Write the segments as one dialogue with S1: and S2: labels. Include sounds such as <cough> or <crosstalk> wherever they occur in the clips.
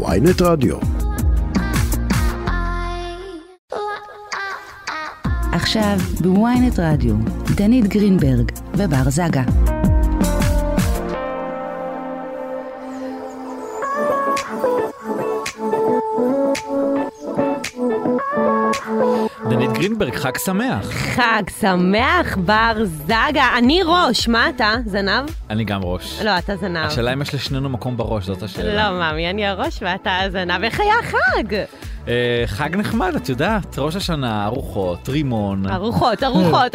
S1: ויינט רדיו.
S2: עכשיו בוויינט רדיו, דנית גרינברג ובר זגה.
S3: דנית גרינברג, חג שמח.
S4: חג שמח, בר זגה. אני ראש, מה אתה? זנב?
S3: אני גם ראש.
S4: לא, אתה זנב.
S3: השאלה אם יש לשנינו מקום בראש, זאת
S4: לא,
S3: השאלה.
S4: מאמי, אני הראש ואתה הזנב. איך היה החג?
S3: אה, חג נחמד, את יודעת, ראש השנה, ארוחות, רימון.
S4: ארוחות, ארוחות,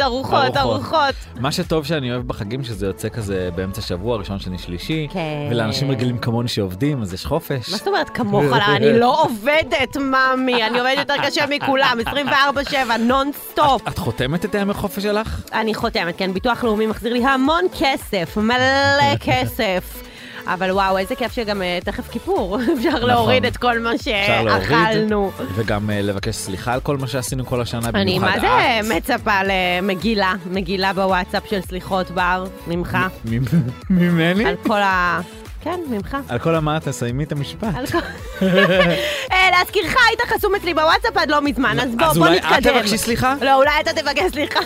S3: ארוחות.
S4: ארוחות, ארוחות.
S3: מה שטוב שאני אוהב בחגים, שזה יוצא כזה באמצע שבוע, ראשון, שני, שלישי.
S4: כן.
S3: ולאנשים רגילים כמוני שעובדים, אז יש חופש.
S4: מה זאת אומרת כמוך? לא, אני לא עובדת, מאמי. אני עובדת יותר קשה מכולם, 24/7, נונסטופ.
S3: את חותמת את הימי חופש שלך?
S4: אני חותמת, כן, ביטוח לאומי מחזיר לי המון
S3: <laughs>
S4: כסף, מלא כסף. אבל וואו, איזה כיף שגם אה, תכף כיפור, <laughs> אפשר להוריד את כל מה
S3: נכון. אפשר להוריד.
S4: שאכלנו.
S3: וגם אה, לבקש סליחה על כל מה שעשינו כל השנה,
S4: אני
S3: במיוחד
S4: מה
S3: את.
S4: זה מצפה למגילה, מגילה בוואטסאפ של סליחות בר, ממך,
S3: מ- ממני?
S4: על כל ה... כן, ממך.
S3: על כל המה תסיימי את המשפט.
S4: על כל...
S3: <laughs>
S4: אה, להזכירך, היית חסום אצלי בוואטסאפ עד לא מזמן, אז בוא,
S3: אז
S4: בוא
S3: אולי את
S4: נתקדם.
S3: תבקשי
S4: <laughs>
S3: סליחה?
S4: לא, אולי אתה תבקש סליחה.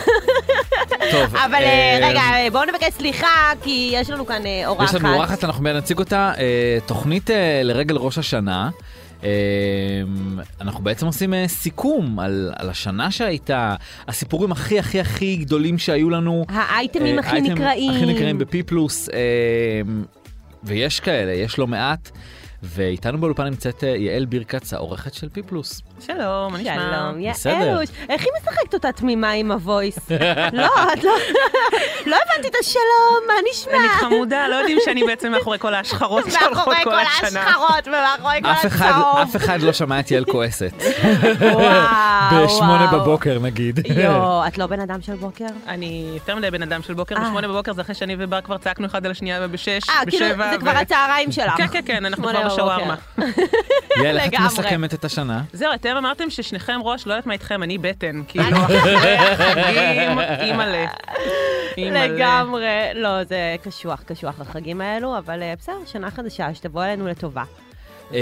S3: טוב.
S4: אבל אה,
S3: אה,
S4: רגע, אה, בואו נבקש סליחה, כי יש לנו כאן אה, אורחת.
S3: יש לנו אורחת, אנחנו מיד נציג אותה. אה, תוכנית אה, לרגל ראש השנה. אה, אנחנו בעצם עושים אה, סיכום על, על השנה שהייתה, הסיפורים הכי הכי הכי גדולים שהיו לנו.
S4: האייטמים
S3: אה,
S4: הכי
S3: אייטם-
S4: נקראים.
S3: הכי נקראים בפי פלוס, אה, ויש כאלה, יש לא מעט. ואיתנו באולפן נמצאת אה, יעל בירקץ, העורכת של פי פלוס.
S5: שלום, מה נשמע?
S4: שלום,
S3: בסדר.
S4: יעלוש. איך היא משחקת אותה תמימה עם הוויס?
S3: <laughs>
S4: לא, את לא... <laughs> לא הבנתי את השלום, מה נשמע?
S5: אני חמודה, לא יודעים שאני בעצם מאחורי כל ההשחרות שהולכות
S4: <laughs> מאחורי כל
S5: כל השנה.
S4: השחרות ומאחורי כל
S3: אף אחד,
S4: הצהוב.
S3: אף אחד לא שמע את יעל כועסת.
S4: וואו,
S3: בשמונה
S4: אה, וואו.
S3: בבוקר נגיד.
S4: יואו, את לא בן אדם של בוקר?
S5: אני יותר מדי בן אדם של בוקר,
S4: אה.
S5: בשמונה בבוקר זה אחרי שאני ובר כבר צעקנו אחד על השנייה ובשש,
S4: אה, כאילו,
S5: בשבע.
S4: זה
S5: ו-
S4: כבר הצהריים שלך.
S5: כן, כן, כן, אנחנו כבר
S4: שמונה בבוקר.
S5: בשווארמה.
S3: <laughs> יעל, איך את
S4: לגמרי.
S3: מסכמת את השנה?
S5: זהו, אתם אמרתם ששניכם ראש, לא יודעת מה איתכם, אני בטן. כאילו, אחרי החגים, אימא'לה. אימא'לה.
S4: לגמרי. לא, זה קשוח, קשוח החגים האלו, אבל אה, בסדר, שנה חדשה, שתבוא עלינו לטובה.
S3: אמ,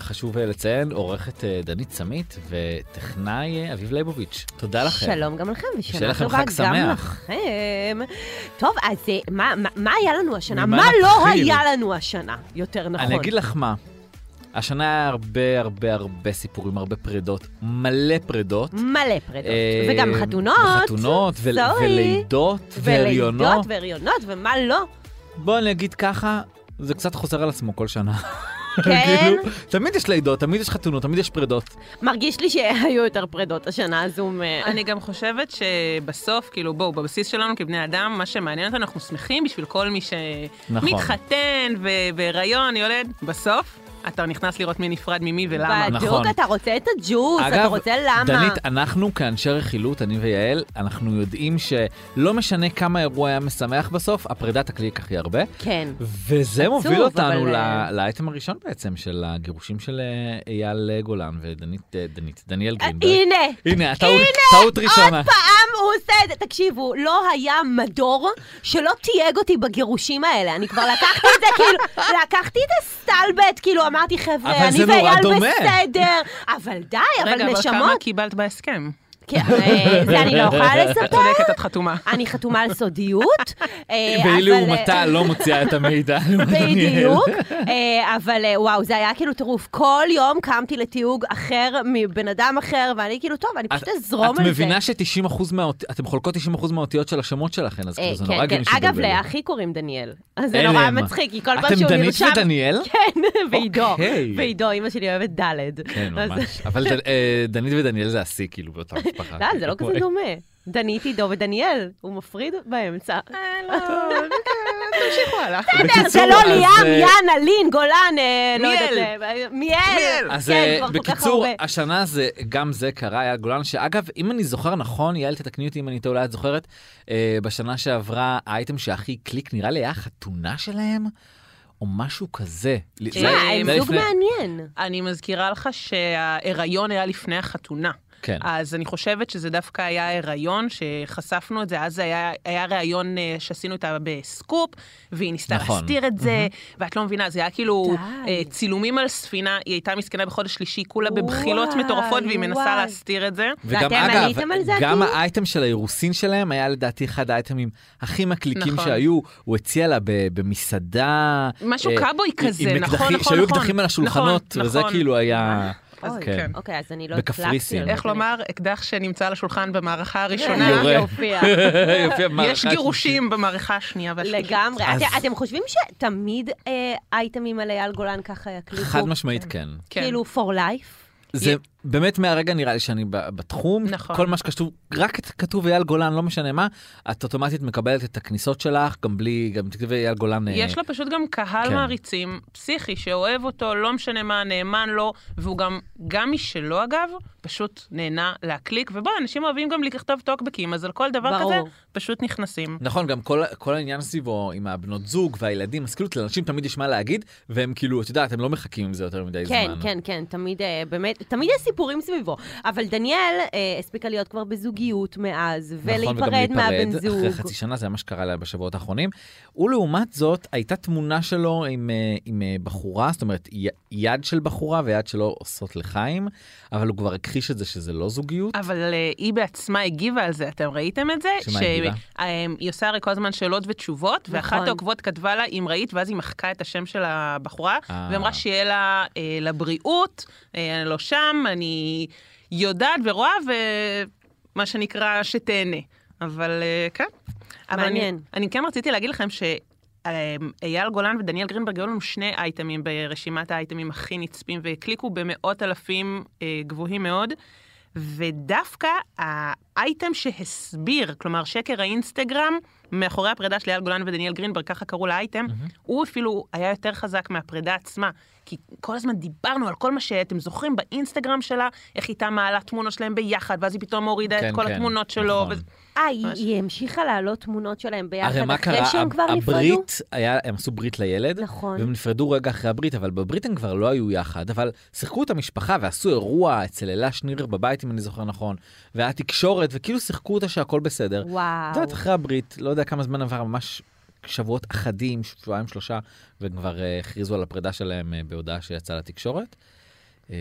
S3: חשוב אה, לציין, עורכת אה, דנית סמית וטכנאי אה, אביב ליבוביץ'. תודה לכם.
S4: שלום גם לכם,
S3: שיהיה
S4: ושנה
S3: לכם
S4: טובה
S3: חג
S4: גם
S3: שמח.
S4: לכם. טוב, אז אה, מה- מה- מה היה לנו השנה?
S3: ממה
S4: מה לא
S3: נתחיל?
S4: היה לנו השנה, יותר נכון?
S3: אני אגיד לך מה, השנה היה הרבה הרבה הרבה סיפורים, הרבה פרדות, מלא פרדות.
S4: מלא פרדות,
S3: אה,
S4: וגם חתונות.
S3: וחתונות, ו-
S4: סורי.
S3: ולידות, והריונות.
S4: ולידות והריונות, ומה לא.
S3: <laughs> בואו אני אגיד ככה, זה קצת חוזר על עצמו כל שנה.
S4: כן,
S3: <laughs> כאילו, תמיד יש לידות, תמיד יש חתונות, תמיד יש פרדות.
S4: מרגיש לי שהיו יותר פרדות השנה, אז הוא... מ-
S5: אני גם חושבת שבסוף, כאילו, בואו, בבסיס שלנו כבני אדם, מה שמעניין אותנו, אנחנו שמחים בשביל כל מי
S3: נכון.
S5: שמתחתן והיריון, יולד, בסוף. אתה נכנס לראות מי נפרד ממי ולמה.
S3: נכון.
S4: בדיוק, אתה רוצה את הג'וס, אתה רוצה למה.
S3: דנית, אנחנו כאנשי רכילות, אני ויעל, אנחנו יודעים שלא משנה כמה אירוע היה משמח בסוף, הפרידה תקליק הכי הרבה.
S4: כן.
S3: וזה מוביל
S4: אבל,
S3: אותנו
S4: אה,
S3: ל- לאייטם אייטם בעצם של הגירושים של אה, אייל אה, גולן ודנית, אה, דנית, דניאל גרינברג.
S4: הנה,
S3: הנה, הטעות- טעות ראשונה.
S4: עוד פעם הוא עושה את זה. תקשיבו, לא היה מדור שלא תייג אותי בגירושים האלה. אני כבר לקחתי את זה, <laughs> כאילו, לקחתי את הסטלבט, כאילו, אמרתי,
S3: אבל
S4: חבר'ה, אני
S3: זה נורא
S4: ואייל
S3: דומה."
S4: בסדר. אבל די, אבל
S5: רגע, אבל כמה
S4: נשמות...
S5: קיבלת בהסכם?
S4: כן, אה, זה אני לא יכולה
S5: את
S4: לספר.
S5: צודקת, את חתומה.
S4: אני חתומה על
S3: <laughs>
S4: סודיות. אה, אבל,
S3: והיא
S4: אה,
S3: לעומתה לא מוציאה את המידע. לדניאל.
S4: בדיוק,
S3: <laughs>
S4: אה, אבל אה, וואו, זה היה כאילו טירוף. כל יום קמתי לתיוג אחר מבן אדם אחר, ואני כאילו, טוב, אני
S3: את-
S4: פשוט אזרום על
S3: את
S4: זה.
S3: מבינה ש-90% מהאותיות, אתם חולקות 90% מהאותיות של השמות שלכן, אז
S4: אה,
S3: כאילו זה
S4: כן,
S3: נורא
S4: כן.
S3: הגיוני
S4: אגב,
S3: שתדברו.
S4: לאחי קוראים דניאל. אז זה
S3: אלה
S4: נורא
S3: הם.
S4: מצחיק, כי כל פעם
S3: אתם
S4: שהוא
S3: דנית
S4: נרשם...
S3: ודניאל?
S4: כן, <laughs> ועידו.
S3: אוקיי.
S4: ועידו, אימא שלי אוהבת ד'.
S3: כן,
S4: אז-
S3: ממש. <laughs> אבל ד- אה, דנית ודניאל זה השיא, כאילו, באותה משפחה.
S4: <laughs>
S3: כאילו,
S4: לא, זה לא כזה דומה. דנית, עידו ודניאל, הוא מפריד באמצע.
S5: תמשיכו הלאה.
S4: בסדר, זה
S3: בקיצור,
S4: לא
S3: אז,
S4: ליאם,
S3: אה,
S4: יאנה, לין, גולן, אה, לא
S5: מיאל.
S4: יודעת. אה, מיאל.
S3: אז
S4: כן,
S3: אה,
S4: כבר כל כך
S3: בקיצור,
S4: הרבה.
S3: השנה זה, גם זה קרה, יעל גולן, שאגב, אם אני זוכר נכון, יעל, תתקני אותי אם אני טועה, אולי את זוכרת, אה, בשנה שעברה, האייטם שהכי קליק, נראה לי היה החתונה שלהם, או משהו כזה. אה, זה-
S4: תשמע,
S5: זה
S4: הם
S3: זה
S4: זוג
S3: לפני-
S4: מעניין.
S5: אני מזכירה לך שההיריון היה לפני החתונה.
S3: כן.
S5: אז אני חושבת שזה דווקא היה הריון, שחשפנו את זה, אז זה היה, היה ריון אה, שעשינו איתה בסקופ, והיא ניסתה
S3: נכון.
S5: להסתיר את זה, ואת לא מבינה, זה היה כאילו
S4: די.
S5: אה, צילומים על ספינה, היא הייתה מסכנה בחודש שלישי, כולה בבחילות
S4: וואי,
S5: מטורפות, והיא מנסה
S4: וואי.
S5: להסתיר את זה.
S3: וגם
S4: ואתם
S3: אגב,
S4: עליתם על זה,
S3: גם
S4: כאילו?
S3: האייטם של האירוסין שלהם היה לדעתי אחד האייטמים הכי מקליקים
S5: נכון.
S3: שהיו, הוא הציע לה ב- במסעדה.
S5: משהו
S3: אה,
S5: קאבוי
S3: עם-
S5: כזה,
S3: עם
S5: נכון,
S3: אקדחים-
S5: נכון,
S3: שהיו
S5: נכון.
S3: אקדחים על השולחנות,
S5: נכון,
S3: וזה
S5: נכון. <laughs>
S3: כאילו היה...
S5: אז
S3: כן.
S5: כן.
S4: אוקיי, אז אני לא
S3: בקפריסין.
S4: הצלחתי, אני
S5: איך
S4: לא
S5: לומר, אקדח שנמצא על השולחן במערכה
S4: יודעת.
S5: הראשונה,
S3: יורה.
S4: יופיע.
S3: <laughs> יופי, המערכה
S5: יש
S3: השלישית.
S5: גירושים במערכה השנייה והשלישית.
S4: לגמרי.
S3: אז-
S4: אתם- אתם חושבים שתמיד אה, אייטמים על אייל גולן ככה יקליטו?
S3: חד משמעית כן.
S5: כן.
S4: כאילו, for life?
S3: זה
S5: י-
S3: באמת מהרגע נראה לי שאני ב- בתחום,
S5: נכון.
S3: כל מה שכתוב, רק את- כתוב אייל גולן, לא משנה מה, את אוטומטית מקבלת את הכניסות שלך, גם בלי, גם תכתבי אייל גולן. אה,
S5: יש לו פשוט גם קהל
S3: כן.
S5: מעריצים פסיכי שאוהב אותו, לא משנה מה, נאמן לו, והוא גם, גם משלו אגב, פשוט נהנה להקליק, ובוא, אנשים אוהבים גם לכתוב טוקבקים, אז על כל דבר
S4: ברור.
S5: כזה פשוט נכנסים.
S3: נכון, גם כל, כל העניין סביבו עם הבנות זוג והילדים, אז כאילו לאנשים תמיד יש מה להגיד, והם כאילו, את יודעת, הם לא מחכים עם זה יותר מדי
S4: כן,
S3: זמן. נכון,
S4: כן, כן, תמיד, אה, באמת, תמיד יש סיפורים סביבו. אבל דניאל אה, הספיקה להיות כבר בזוגיות מאז,
S3: נכון,
S4: ולהיפרד
S3: וגם
S4: מהבן
S3: להיפרד
S4: זוג.
S3: אחרי <laughs> חצי שנה, זה מה שקרה לה בשבועות האחרונים. ולעומת זאת, הייתה תמונה שלו עם, אה, עם אה, בחורה, זאת אומרת, י- יד של בחורה ויד שלו עושות לחיים, אבל הוא כבר הכחיש את זה שזה לא זוגיות.
S5: אבל אה, היא בעצמה הגיבה על זה, אתם ראיתם את זה?
S3: שמה הגיבה?
S5: אה, היא עושה הרי כל הזמן שאלות ותשובות,
S4: נכון.
S5: ואחת העוקבות כתבה לה אם ראית, ואז היא מחקה את השם של הבחורה,
S3: אה.
S5: ואמרה שיהיה לה אה, לבריאות, אה, אני לא שם, אני יודעת ורואה, ומה שנקרא, שתהנה. אבל אה, כן. אבל
S4: מעניין.
S5: אני, אני כן רציתי להגיד לכם ש... אה, אייל גולן ודניאל גרינברג היו לנו שני אייטמים ברשימת האייטמים הכי נצפים והקליקו במאות אלפים אה, גבוהים מאוד. ודווקא האייטם שהסביר, כלומר שקר האינסטגרם, מאחורי הפרידה של אייל גולן ודניאל גרינברג, ככה קראו לאייטם, הוא אפילו היה יותר חזק מהפרידה עצמה. כי כל הזמן דיברנו על כל מה שאתם זוכרים באינסטגרם שלה, איך איתה מעלה תמונות שלהם ביחד, ואז היא פתאום מורידה
S3: כן,
S5: את כל
S3: כן,
S5: התמונות שלו.
S3: נכון.
S5: וזה-
S4: אה, היא-
S5: ממש.
S4: היא המשיכה להעלות תמונות שלהם
S3: הרי
S4: ביחד
S3: מה
S4: אחרי
S3: קרה?
S4: שהם
S3: הב-
S4: כבר נפרדו?
S3: הברית, היה, הם עשו ברית לילד,
S4: נכון.
S3: והם נפרדו רגע אחרי הברית, אבל בברית הם כבר לא היו יחד, אבל שיחקו את המשפחה ועשו אירוע אצל אלה שניר בבית, אם אני זוכר נכון, והיה תקשורת, וכאילו שיחקו אותה שהכל בסדר. את
S4: וואו.
S3: יודעת, אחרי הברית, לא יודע כמה זמן עבר, ממש שבועות אחדים, שבועיים, שלושה, וכבר אה, הכריזו על הפרידה שלהם אה, בהודעה שיצאה לתקשורת. אה,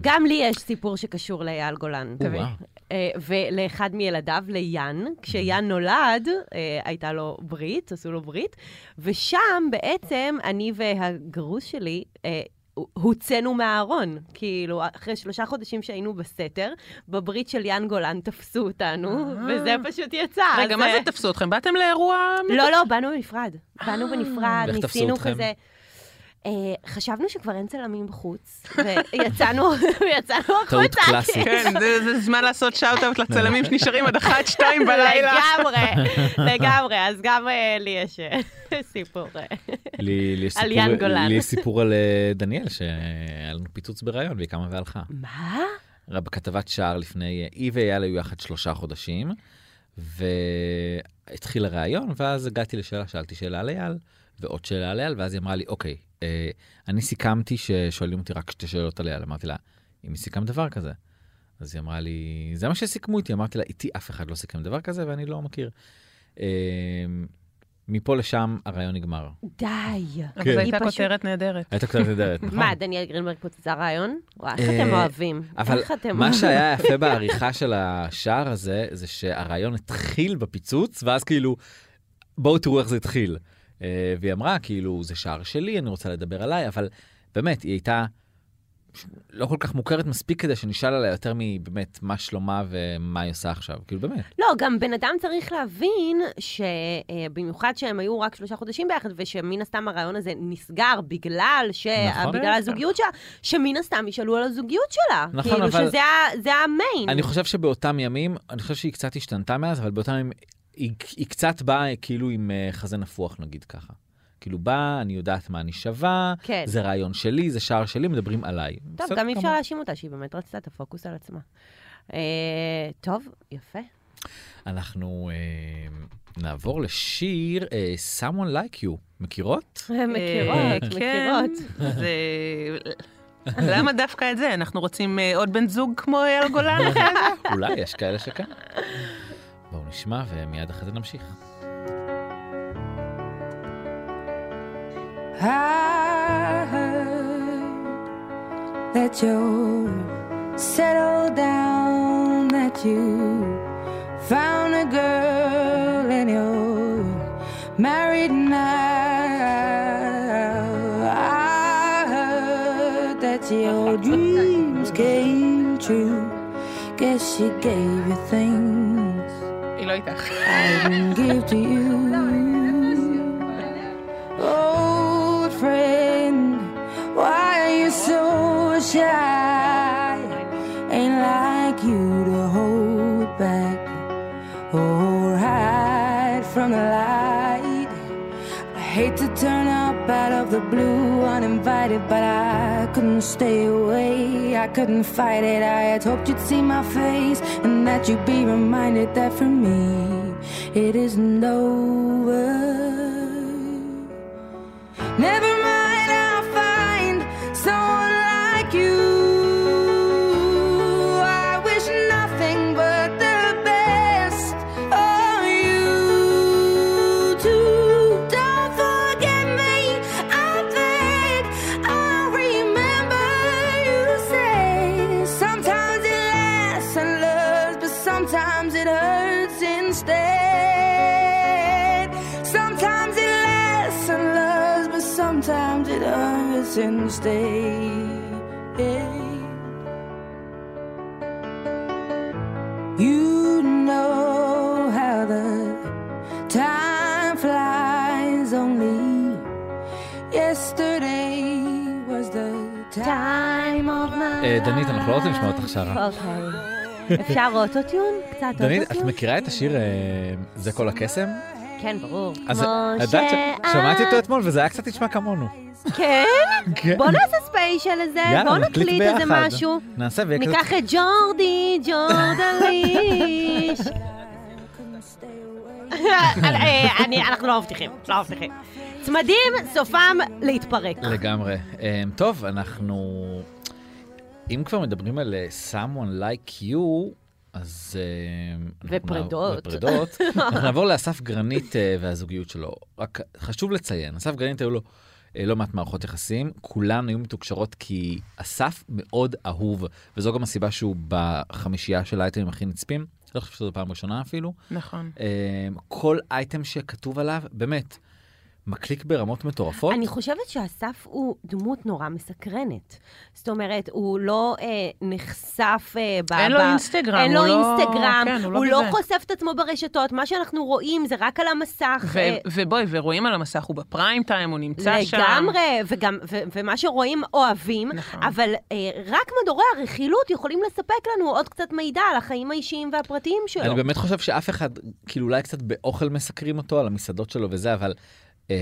S4: גם לי יש סיפור שקשור לאייל גולן.
S3: או,
S4: <laughs>
S3: וואו.
S4: אה, ולאחד מילדיו, ליאן, כשיאן נולד, אה, הייתה לו ברית, עשו לו ברית, ושם בעצם אני והגרוש שלי, אה, הוצאנו מהארון, כאילו, אחרי שלושה חודשים שהיינו בסתר, בברית של יאן גולן תפסו אותנו,
S5: אה.
S4: וזה פשוט יצא.
S5: רגע,
S4: אז,
S5: מה
S4: אה,
S5: זה תפסו אתכם? באתם לאירוע...
S4: לא, לא, באנו בנפרד. באנו
S5: אה.
S4: בנפרד,
S3: ואיך תפסו
S4: ניסינו
S3: אתכם?
S4: כזה... אה, חשבנו שכבר אין צלמים בחוץ, ויצאנו <laughs> יצאנו
S3: טעות
S4: החוצה.
S3: קלאסית.
S5: כן, זה, זה זמן לעשות שאוט-אאוט
S3: <laughs>
S5: לצלמים שנשארים עד אחת, שתיים בלילה.
S4: לגמרי, לגמרי, אז גם אה, לי יש אה, סיפור. אה.
S3: לי לי יש
S4: על
S3: סיפור-
S4: יאן גולן.
S3: לי יש סיפור על אה, דניאל, שהיה לנו פיצוץ בריאיון, והיא קמה והלכה.
S4: מה?
S3: בכתבת שער לפני, היא ואייל היו יחד שלושה חודשים, והתחיל הראיון, ואז הגעתי לשאלה, שאלתי שאלה על אייל, ועוד שאלה על אייל, ואז היא אמרה לי, אוקיי, אה, אני סיכמתי ששואלים אותי רק שתי שאלות על אייל, אמרתי לה, אם סיכמת דבר כזה. אז היא אמרה לי, זה מה שסיכמו איתי, אמרתי לה, איתי אף אחד לא סיכם דבר כזה ואני לא מכיר. אה, מפה לשם הרעיון נגמר.
S4: די.
S3: כן.
S5: אבל זו הייתה
S4: היא פשוט-
S5: כותרת נהדרת.
S3: הייתה קצת נהדרת, נכון?
S4: מה, דניאל גרינברג פוצצה רעיון? וואי, איך
S3: אה,
S4: אתם אוהבים.
S3: אבל
S4: איך אתם
S3: מה שהיה יפה בעריכה של השער הזה, זה שהרעיון התחיל בפיצוץ, ואז כאילו, בואו תראו איך זה התחיל. אה, והיא אמרה, כאילו, זה שער שלי, אני רוצה לדבר עליי, אבל באמת, היא הייתה לא כל כך מוכרת מספיק כדי שנשאל עליה יותר מבאמת מה שלומה ומה היא עושה עכשיו. כאילו, באמת.
S4: לא, גם בן אדם צריך להבין שבמיוחד שהם היו רק שלושה חודשים ביחד, ושמן הסתם הרעיון הזה נסגר בגלל ש...
S3: נכון.
S4: בגלל הזוגיות שלה, שמן הסתם ישאלו על הזוגיות שלה.
S3: נכון,
S4: כאילו
S3: אבל-
S4: שזה ה- זה המיין.
S3: אני חושב שבאותם ימים, אני חושב שהיא קצת השתנתה מאז, אבל באותם ימים היא, היא קצת באה כאילו עם אה, חזה נפוח, נגיד ככה. כאילו באה, אני יודעת מה אני שווה,
S4: כן.
S3: זה רעיון שלי, זה שער שלי, מדברים עליי.
S4: טוב,
S3: בסדר
S4: גם אי אפשר
S3: גמור.
S4: להאשים אותה שהיא באמת רצתה את הפוקוס על עצמה. אה, טוב, יפה.
S3: אנחנו אה, נעבור לשיר אה,
S4: <laughs>
S3: Someone Like You, מכירות?
S4: מכירות,
S5: אה, כן.
S4: מכירות.
S5: זה למה דווקא את זה? אנחנו רוצים אה, עוד בן זוג כמו אייל גולן?
S3: אולי יש כאלה שכן. בואו נשמע ומיד אחרי זה נמשיך.
S1: I heard that you settled down, that you found a girl and you're married now. I heard that your dreams came true. Guess she gave you things
S5: היא לא איתך.
S1: I didn't give to you. Old friend, why are you so shy? Ain't like you to hold back or hide from the light. I hate to turn up out of the blue uninvited, but I couldn't stay away. I couldn't fight it. I had hoped you'd see my face and that you'd be reminded that for me it isn't over. Never mind, I'll find someone like you. I wish nothing but the best of you. Too. Don't forget me. I think I remember you say sometimes it lasts and loves, but sometimes it hurts instead. Sometimes it lasts and loves, but sometimes it hurts instead. You know how the time flies. Only yesterday was the time of my
S3: אה, דנית, אנחנו לא רוצים לשמוע אותך שרה.
S4: אוקיי.
S3: <laughs>
S4: אפשר אוטוטיון? קצת אוטוטיון?
S3: דנית, את מכירה את השיר אה, זה כל הקסם?
S4: כן, ברור.
S3: אז
S4: כמו
S3: את יודעת ש-
S4: שאת-
S3: שמעתי אותו אתמול וזה היה קצת נשמע כמונו.
S4: כן?
S3: כן.
S4: בוא נעשה ספיישל לזה, בוא נקליט איזה
S3: ביחד.
S4: משהו.
S3: נעשה ויהיה כזה...
S4: ניקח את ג'ורדי, ג'ורדליש. אה, אני- אנחנו לא מבטיחים, לא מבטיחים. צמדים, סופם להתפרק.
S3: לגמרי. אמ, טוב, אנחנו... אם כבר מדברים על אה, someone like you, אז... אמ, אנחנו
S4: ופרדות.
S3: נעב- ופרדות. אנחנו נעבור לאסף גרנית אה, והזוגיות שלו. רק חשוב לציין, אסף גרנית היו לו אה, לא מעט מערכות יחסים, כולן היו מתוקשרות כי אסף מאוד אהוב, וזו גם הסיבה שהוא בחמישייה של האייטמים הכי נצפים. לא חושב שזו פעם ראשונה אפילו.
S5: נכון.
S3: אמ, כל אייטם שכתוב עליו, באמת, מקליק ברמות מטורפות.
S4: אני חושבת שאסף הוא דמות נורא מסקרנת. זאת אומרת, הוא לא אה, נחשף... אה, ב-
S5: אין לו
S4: ב-
S5: אינסטגרם,
S4: אין לו
S5: הוא לא-
S4: אינסטגרם,
S5: כן, הוא לא
S4: הוא לא
S5: בזה.
S4: חושף את עצמו ברשתות, מה שאנחנו רואים זה רק על המסך.
S5: ו-
S4: אה,
S5: ובואי, ורואים על המסך, הוא בפריים טיים, הוא נמצא שם.
S4: לגמרי, וגם, ו- ומה שרואים אוהבים,
S5: נכון.
S4: אבל אה, רק מדורי הרכילות יכולים לספק לנו עוד קצת מידע על החיים האישיים והפרטיים שלו.
S5: לא.
S3: אני באמת חושב שאף אחד, כאילו אולי קצת באוכל מסקרים אותו על המסעדות שלו וזה, אבל אמ,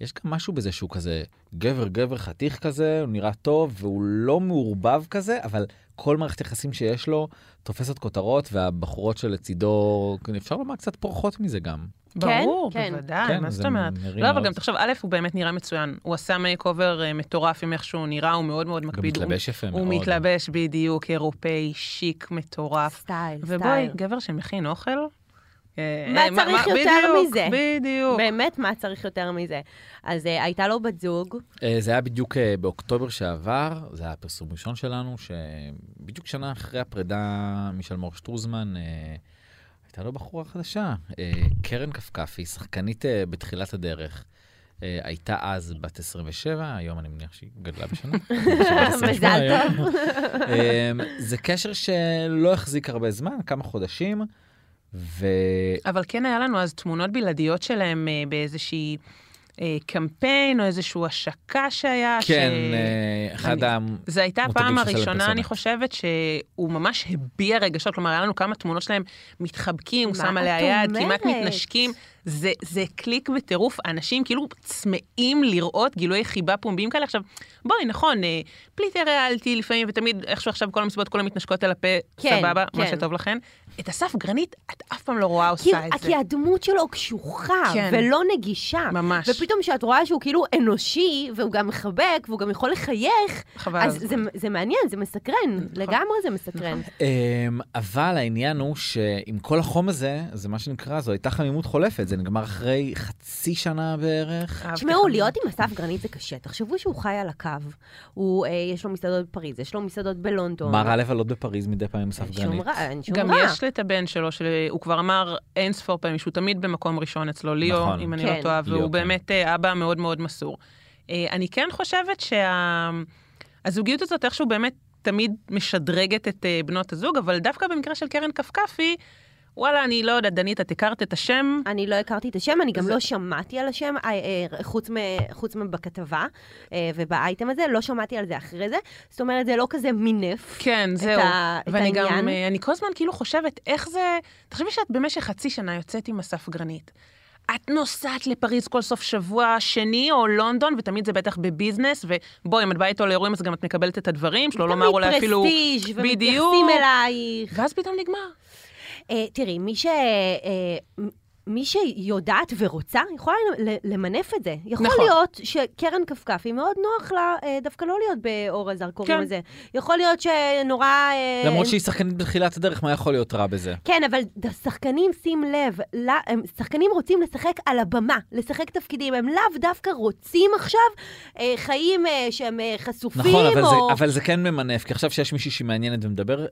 S3: יש גם משהו בזה שהוא כזה גבר גבר חתיך כזה, הוא נראה טוב והוא לא מעורבב כזה, אבל כל מערכת יחסים שיש לו תופסת כותרות והבחורות שלצידו, כן, אפשר לומר קצת פורחות מזה גם.
S5: ברור,
S4: כן, כן.
S5: בוודאי,
S3: כן,
S5: אה, מה
S3: זה
S5: זאת אומרת?
S3: מרים
S5: לא,
S3: מאוד.
S5: אבל גם תחשוב, א', הוא באמת נראה מצוין. הוא עשה מייק אובר אה, מטורף עם איך שהוא נראה, הוא מאוד מאוד
S3: גם
S5: מקפיד. הוא-
S3: מתלבש יפה מאוד.
S5: הוא מתלבש בדיוק, אירופאי, שיק, מטורף.
S4: סטייל,
S5: ובואי, גבר שמכין אוכל... אה,
S4: מה
S5: אה,
S4: צריך יותר
S5: בדיוק,
S4: מזה?
S5: בדיוק.
S4: באמת, מה צריך יותר מזה? אז אה, הייתה לו בת
S5: <laughs>
S4: זוג,
S3: אה, זה היה בדיוק אה, באוקטובר שעבר, זה היה הפרסום הראשון שלנו, שבדיוק שנה אחרי הפרידה משלמור שטרוזמן, אה, הייתה לו בחורה חדשה, אה, קרן קפקפי, שחקנית אה, בתחילת הדרך. אה, הייתה אז בת 27, היום אני מניח שהיא גדלה בשנה.
S4: מזל
S3: טוב.
S5: <laughs>
S3: אה, זה קשר שלא החזיק הרבה זמן, כמה חודשים, ו...
S5: אבל כן היה לנו אז תמונות בלעדיות שלהם אה, באיזושהי אה, קמפיין או איזושהי השקה שהיה. ש-
S3: כן, אה, אחד
S5: אני-
S3: ה...
S5: זו הייתה
S3: מותגים
S5: הפעם
S3: של סלב
S5: הראשונה,
S3: פרסונה.
S5: אני חושבת, שהוא ממש הביע רגשות, כלומר, היה לנו כמה תמונות שלהם מתחבקים, הוא
S4: מה
S5: שם עליה
S4: את
S5: יד,
S4: אומרת?
S5: כמעט מתנשקים. זה, זה קליק וטירוף, אנשים כאילו צמאים לראות גילויי חיבה פומביים כאלה. עכשיו, בואי, נכון, אה, פליט הריאלתי לפעמים, ותמיד איכשהו עכשיו כל המסיבות כולם מתנשקות על הפה,
S4: כן,
S5: סבבה, מה
S4: כן.
S5: שטוב לכן. את אסף גרנית, את אף פעם לא רואה
S4: כאילו,
S5: עושה את זה.
S4: כי הדמות שלו קשוחה,
S5: כן.
S4: ולא נגישה.
S5: ממש.
S4: ופתאום כשאת רואה שהוא כאילו אנושי, והוא גם מחבק, והוא גם יכול לחייך,
S5: חבל.
S4: אז זה, זה מעניין, זה מסקרן.
S5: נכון.
S4: לגמרי זה מסקרן.
S3: אמ, אבל העניין הוא שעם כל החום הזה, זה מה שנקרא, זו הייתה חמימות חולפת, זה נגמר אחרי חצי שנה בערך.
S5: אהבתי
S4: תשמעו,
S5: חמוד.
S4: להיות עם אסף גרנית זה קשה. תחשבו שהוא חי על הקו. הוא, אה, יש לו מסעדות בפריז, יש לו מסעדות בלונדון.
S3: מה רע לבלות בפריז מדי פעם עם אסף
S4: אין שום
S3: גרנית?
S4: רע, אין שום
S5: גם
S4: רע.
S5: יש לי את הבן שלו, שהוא כבר אמר אין ספור פעמים, שהוא תמיד במקום ראשון אצלו, ליאו,
S3: נכון.
S5: אם אני
S4: כן.
S5: לא טועה,
S3: ליאו,
S5: והוא
S3: כן.
S5: באמת אה, אבא מאוד מאוד מסור. אה, אני כן חושבת שהזוגיות הזאת איכשהו באמת תמיד משדרגת את אה, בנות הזוג, אבל דווקא במקרה של קרן קפקפי, וואלה, אני לא יודעת, דנית, את הכרת את השם?
S4: אני לא הכרתי את השם, אני גם
S5: זה-
S4: לא שמעתי על השם, אה, אה, חוץ מ- חוץ מבכתבה אה, ובאייטם הזה, לא שמעתי על זה אחרי זה. זאת אומרת, זה לא כזה מינף.
S5: כן,
S4: את
S5: זהו.
S4: ה- את
S5: ואני
S4: העניין.
S5: גם, אה, אני כל הזמן כאילו חושבת, איך זה... תחשבי שאת במשך חצי שנה יוצאת עם אסף גרנית. את נוסעת לפריז כל סוף שבוע שני, או לונדון, ותמיד זה בטח בביזנס, ובואי, אם את באה איתו לאירועים, אז גם את מקבלת את הדברים שלו, לא מהר אולי אפילו...
S4: תמיד פרסטיג' ומתייחסים
S5: בדיוק.
S4: אלייך.
S5: ואז פתאום נגמר.
S4: אה, תראי, מי ש... אה, מ- מי שיודעת ורוצה, יכולה ל- למנף את זה. יכול
S5: נכון.
S4: להיות שקרן קפקפי, מאוד נוח לה אה, דווקא לא להיות באור הזרקורים
S5: כן.
S4: הזה. יכול להיות שנורא... אה,
S3: למרות שהיא שחקנית בתחילת הדרך, מה יכול להיות רע בזה?
S4: כן, אבל ד- שחקנים, שים לב, לא- הם- שחקנים רוצים לשחק על הבמה, לשחק תפקידים. הם לאו דווקא רוצים עכשיו אה, חיים אה, שהם אה, חשופים,
S3: נכון, אבל,
S4: או...
S3: זה, אבל זה כן ממנף, כי עכשיו שיש מישהי שהיא מעניינת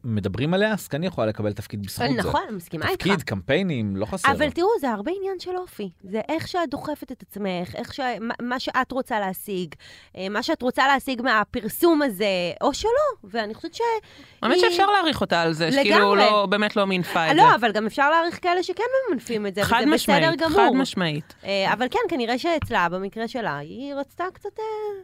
S3: ומדברים עליה, אז כן יכולה לקבל תפקיד בזכות זה.
S4: נכון, אני מסכימה איתך.
S3: תפקיד, קמפיינים, לא חסר.
S4: אבל תראו, זה הרבה עניין של אופי. זה איך שאת דוחפת את עצמך, איך ש... מה- מה שאת רוצה להשיג, אה, מה שאת רוצה להשיג מהפרסום הזה, או שלא. ואני חושבת ש...
S5: האמת
S4: היא-
S5: שאפשר להעריך אותה על זה, שכאילו
S4: לגמרי.
S5: לא, באמת לא מינפה את זה.
S4: לא, אבל גם אפשר להעריך כאלה שכן ממנפים את זה,
S5: חד
S4: וזה
S5: משמעית,
S4: בסדר גמור.
S5: חד משמעית.
S4: אה, אבל כן, כנראה שאצלה, במקרה שלה, היא רצתה קצת... אה,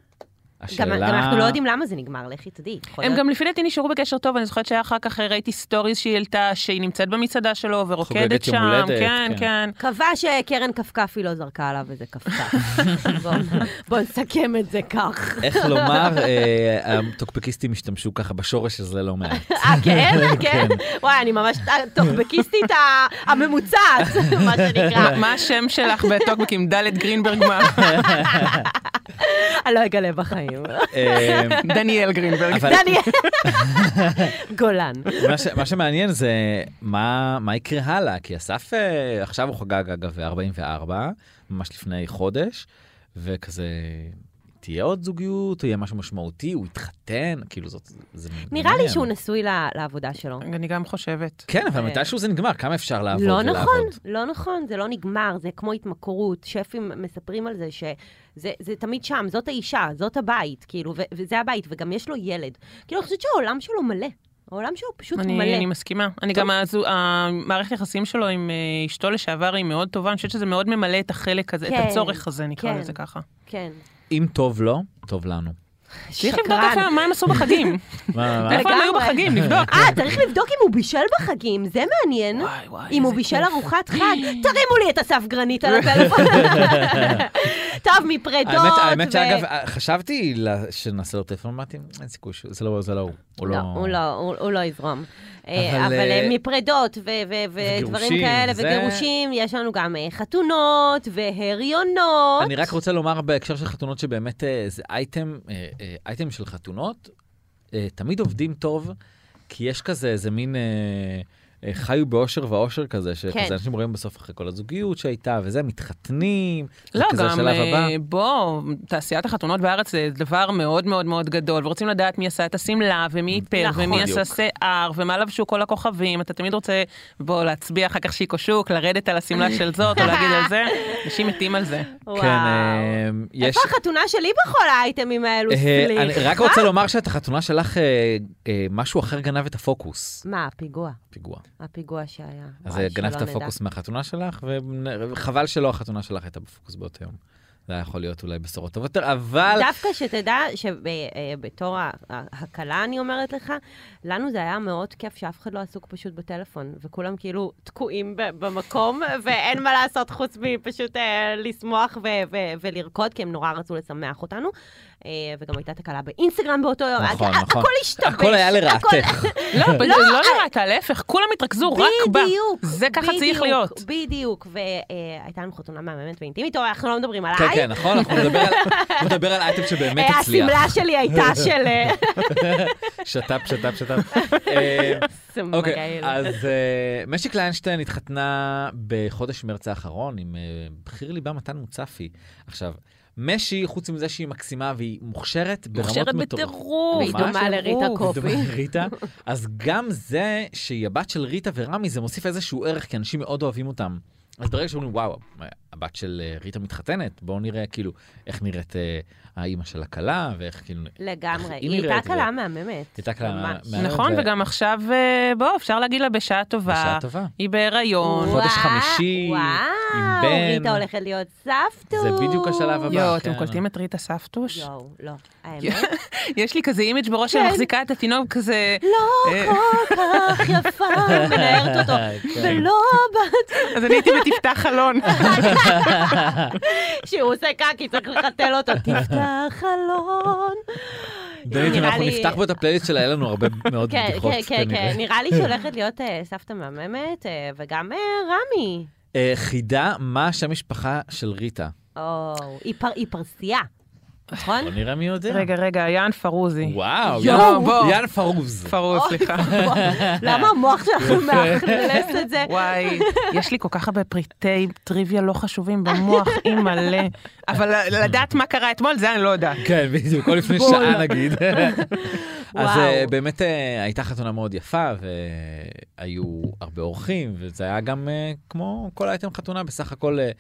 S4: גם,
S3: השאלה...
S4: גם אנחנו לא יודעים למה זה נגמר, לכי תדעי. יכול
S5: הם
S4: להיות.
S5: גם לפי דעתי נשארו בקשר טוב, אני זוכרת שהיה אחר כך, אה, ראיתי סטוריז שהיא העלתה, שהיא נמצאת במסעדה שלו
S3: חוגגת
S5: ורוקדת
S3: יום
S5: שם,
S3: הולדת,
S5: כן,
S3: כן.
S5: כן.
S4: קבע שקרן קפקפי לא זרקה עליו איזה
S5: <laughs>
S4: קפקף. בואו בוא נסכם את זה כך.
S3: איך לומר, אה, הטוקבקיסטים השתמשו ככה בשורש הזה לא מעט.
S4: <laughs> אה,
S5: <laughs>
S4: כן? כן. וואי, אני ממש
S5: כן.
S4: טוקבקיסטית ה-
S5: <laughs>
S4: הממוצעת, מה שנקרא.
S5: מה- מה השם שלך בטוקבקים? ד' גרינברג מה?
S4: אני לא אגלה בחיים.
S3: אה,
S5: דניאל גרינברג.
S3: אבל
S5: <laughs>
S4: דניאל גולן.
S3: מה ש- מה שמעניין זה מה מה יקרה הלאה, כי אסף אה, עכשיו הוא חגג אגב 44, ממש לפני חודש, וכזה... תהיה עוד זוגיות, יהיה משהו משמעותי, הוא יתחתן, כאילו זאת... זה
S4: נראה לי
S3: מעניין.
S4: שהוא נשוי ל- לעבודה שלו.
S5: אני גם חושבת.
S3: כן, אבל מתישהו זה נגמר, כמה אפשר לעבוד
S4: לא
S3: ולעבוד?
S4: נכון, לא נכון, זה לא נגמר, זה כמו התמכרות. שפים מספרים על זה שזה זה תמיד שם, זאת האישה, זאת הבית, כאילו, ו- וזה הבית, וגם יש לו ילד. כאילו, אני חושבת שהעולם שלו מלא. העולם שלו פשוט מלא.
S5: אני, אני מסכימה. אני גם, הזו, המערכת יחסים שלו עם אה, אשתו לשעבר היא מאוד טובה, אני חושבת שזה מאוד ממלא את החלק הזה,
S4: כן,
S5: את הצורך הזה, נקרא
S4: כן.
S5: לזה ככה.
S4: כן.
S3: אם טוב לו, טוב
S4: <laughs>
S3: לנו.
S5: צריך לבדוק איפה, מה הם עשו <laughs> בחגים.
S3: מה- מה-
S5: איפה הם היו
S4: לגמרי.
S5: בחגים, נבדוק.
S4: אה, צריך לבדוק אם הוא בישל בחגים, זה מעניין.
S5: וואי, וואי,
S4: אם הוא
S5: איזה
S4: בישל
S5: כיף.
S3: <laughs>
S4: ארוחת חג, תרימו לי את אסף גרנית על הפלאפון. טוב, מפרדות.
S3: האמת, האמת
S4: ו-
S3: שאגב, חשבתי לה- שנעשה לו טלפון, אמרתי, אין סיכוי, ש- זה לא זה לא הוא. הוא
S4: לא,
S3: לא...
S4: הוא לא, הוא- הוא לא יזרום. אה,
S3: אבל,
S4: אבל
S3: אה,
S4: אה, מפרדות ו- ו- ודברים
S3: וגירושים,
S4: כאלה,
S3: זה-
S4: וגירושים, יש לנו גם אה, חתונות והריונות.
S3: אני רק רוצה לומר בהקשר של חתונות, שבאמת אה, זה אייטם, אה, אה, אייטם של חתונות, אה, תמיד עובדים טוב, כי יש כזה איזה מין... אה, אה, חיו באושר ואושר כזה, שכזה
S4: כן.
S3: אנשים רואים בסוף אחרי כל הזוגיות שהייתה וזה, מתחתנים, זה
S5: לא,
S3: כזה
S5: גם,
S3: השלב הבא.
S5: אה, בוא, תעשיית החתונות בארץ זה דבר מאוד מאוד מאוד גדול, ורוצים לדעת מי עשה את השמלה, ומי איפר,
S4: נכון,
S5: ומי עשה
S3: בדיוק.
S5: שיער, ומה לבשו כל הכוכבים, אתה תמיד רוצה, בוא, להצביע אחר כך שיקו שוק, לרדת על השמלה של זאת, או להגיד
S3: <laughs>
S5: על זה, אנשים מתים על זה.
S4: וואו.
S3: כן, אה, יש...
S4: איפה החתונה שלי בכל האייטמים האלו,
S3: אה,
S4: סליחה?
S3: אני רק רוצה לומר שאת החתונה שלך, אה, אה, משהו אחר גנב את הפוקוס.
S4: מה, הפיגוע?
S3: פיגוע.
S4: הפיגוע שהיה.
S3: אז אה,
S4: וואי,
S3: גנבת
S4: אה, שלא נדע.
S3: פוקוס מהחתונה שלך, וחבל שלא החתונה שלך הייתה בפוקוס באותו יום. זה היה יכול להיות אולי בשורות טובות יותר, אבל...
S4: דווקא שתדע אה, שבתור ההקלה, אני אומרת לך, לנו זה היה מאוד כיף שאף אחד לא עסוק פשוט בטלפון, וכולם כאילו תקועים ב- במקום, <laughs> ואין מה לעשות חוץ מפשוט אה, לשמוח ו- ו- ולרקוד, כי הם נורא רצו לשמח אותנו. אה, וגם הייתה תקלה באינסטגרם באותו יום.
S3: נכון,
S4: הכ-
S3: נכון.
S4: הכל השתבש.
S3: הכל היה
S4: הכל-
S3: לרעתך. כן,
S5: לא, אבל זה לא נראית, להפך, כולם התרכזו רק בה.
S4: אה. בדיוק,
S5: זה ככה צריך
S4: בדיוק,
S5: להיות.
S4: בדיוק, והייתה לנו חתונה מהממת ואינטימית, או אנחנו לא מדברים עליי.
S3: כן, כן, נכון, אנחנו נדבר על- אנחנו נדבר על אייטם שבאמת
S4: אה,
S3: הצליח.
S4: השמלה שלי הייתה
S3: <laughs>
S4: של... אה, <laughs>
S3: שת"פ, שת"פ, שת"פ. אה, אוקיי,
S4: מגעיל.
S3: אז אה, משי קליינשטיין התחתנה בחודש מרץ האחרון עם אה, בחיר ליבה מתן מוצפי. עכשיו, משי, חוץ מזה שהיא מקסימה והיא מוכשרת ברמות
S5: מוכשרת
S3: מטורפות.
S5: בטירוף.
S4: והיא
S3: ממש.
S4: דומה לריטה קופי.
S3: דומה
S4: <laughs>
S3: לריטה. אז גם זה שהיא הבת של ריטה ורמי, זה מוסיף איזשהו ערך, כי אנשים מאוד אוהבים אותם. אז ברגע שאומרים, וואו, הבת של אה, ריטה מתחתנת, בואו נראה כאילו איך נראית אה, האימא של הכלה, ואיך כאילו...
S4: לגמרי.
S3: איך- אם היא
S4: היא הייתה
S3: ראית את
S4: קלה
S3: זה.
S4: מהממת.
S3: הייתה קלה
S4: ממש.
S3: מהממת.
S5: נכון,
S3: ו-
S5: וגם עכשיו, אה, בוא, אפשר להגיד לה בשעה טובה.
S3: בשעה טובה.
S5: היא בהיריון.
S3: חודש
S4: וואו,
S3: חמישי, עם
S4: וואו,
S3: בן.
S4: ריטה הולכת להיות סבתו.
S3: זה בדיוק השלב הבא.
S5: יואו,
S3: כן.
S5: אתם קולטים את ריטה סבתוש?
S4: יואו, לא. האמת,
S5: יש לי כזה אימג' בראש שאני מחזיקה את התינוק כזה,
S4: לא
S5: אה.
S4: כל
S3: <laughs>
S4: כך יפה, מנערת אותו.
S3: כן.
S4: ולא בת...
S5: אז אני הייתי בתפתח חלון.
S4: שהוא עושה קקי, צריך לחתל
S3: <laughs>
S4: אותו. תפתח חלון.
S3: דנית, אם
S4: נראה
S3: אנחנו
S4: לי-
S3: נפתח פה את הפלייליסט שלה, היה לנו
S4: <laughs>
S3: הרבה מאוד
S4: כן,
S3: בדיחות.
S4: כן, כן,
S3: כנראה.
S4: כן. נראה לי שהיא
S3: <laughs>
S4: הולכת להיות אה, סבתא מהממת, אה, וגם אה, רמי.
S3: אה, חידה, מה שם משפחה של ריטה?
S4: או, היא פר- היא פרסייה, נכון?
S3: בוא נראה מי יודע.
S5: <laughs> רגע, רגע, יען פרוזי.
S3: וואו,
S5: יואו, בוא.
S3: יאן פרוז.
S5: פרוז, <laughs> סליחה.
S4: <laughs> למה המוח שלכם מאכלס את זה?
S5: וואי, יש לי כל כך הרבה פריטי טריוויה לא חשובים <laughs> במוח, אי מלא. אבל לדעת מה קרה אתמול, זה אני לא יודעת.
S3: כן, בדיוק, או לפני שעה נגיד.
S4: <laughs>
S3: אז אה,
S4: וואו.
S3: באמת אה, הייתה חתונה מאוד יפה, והיו הרבה אורחים, וזה היה גם אה, כמו כל אייטם חתונה, בסך הכל אה,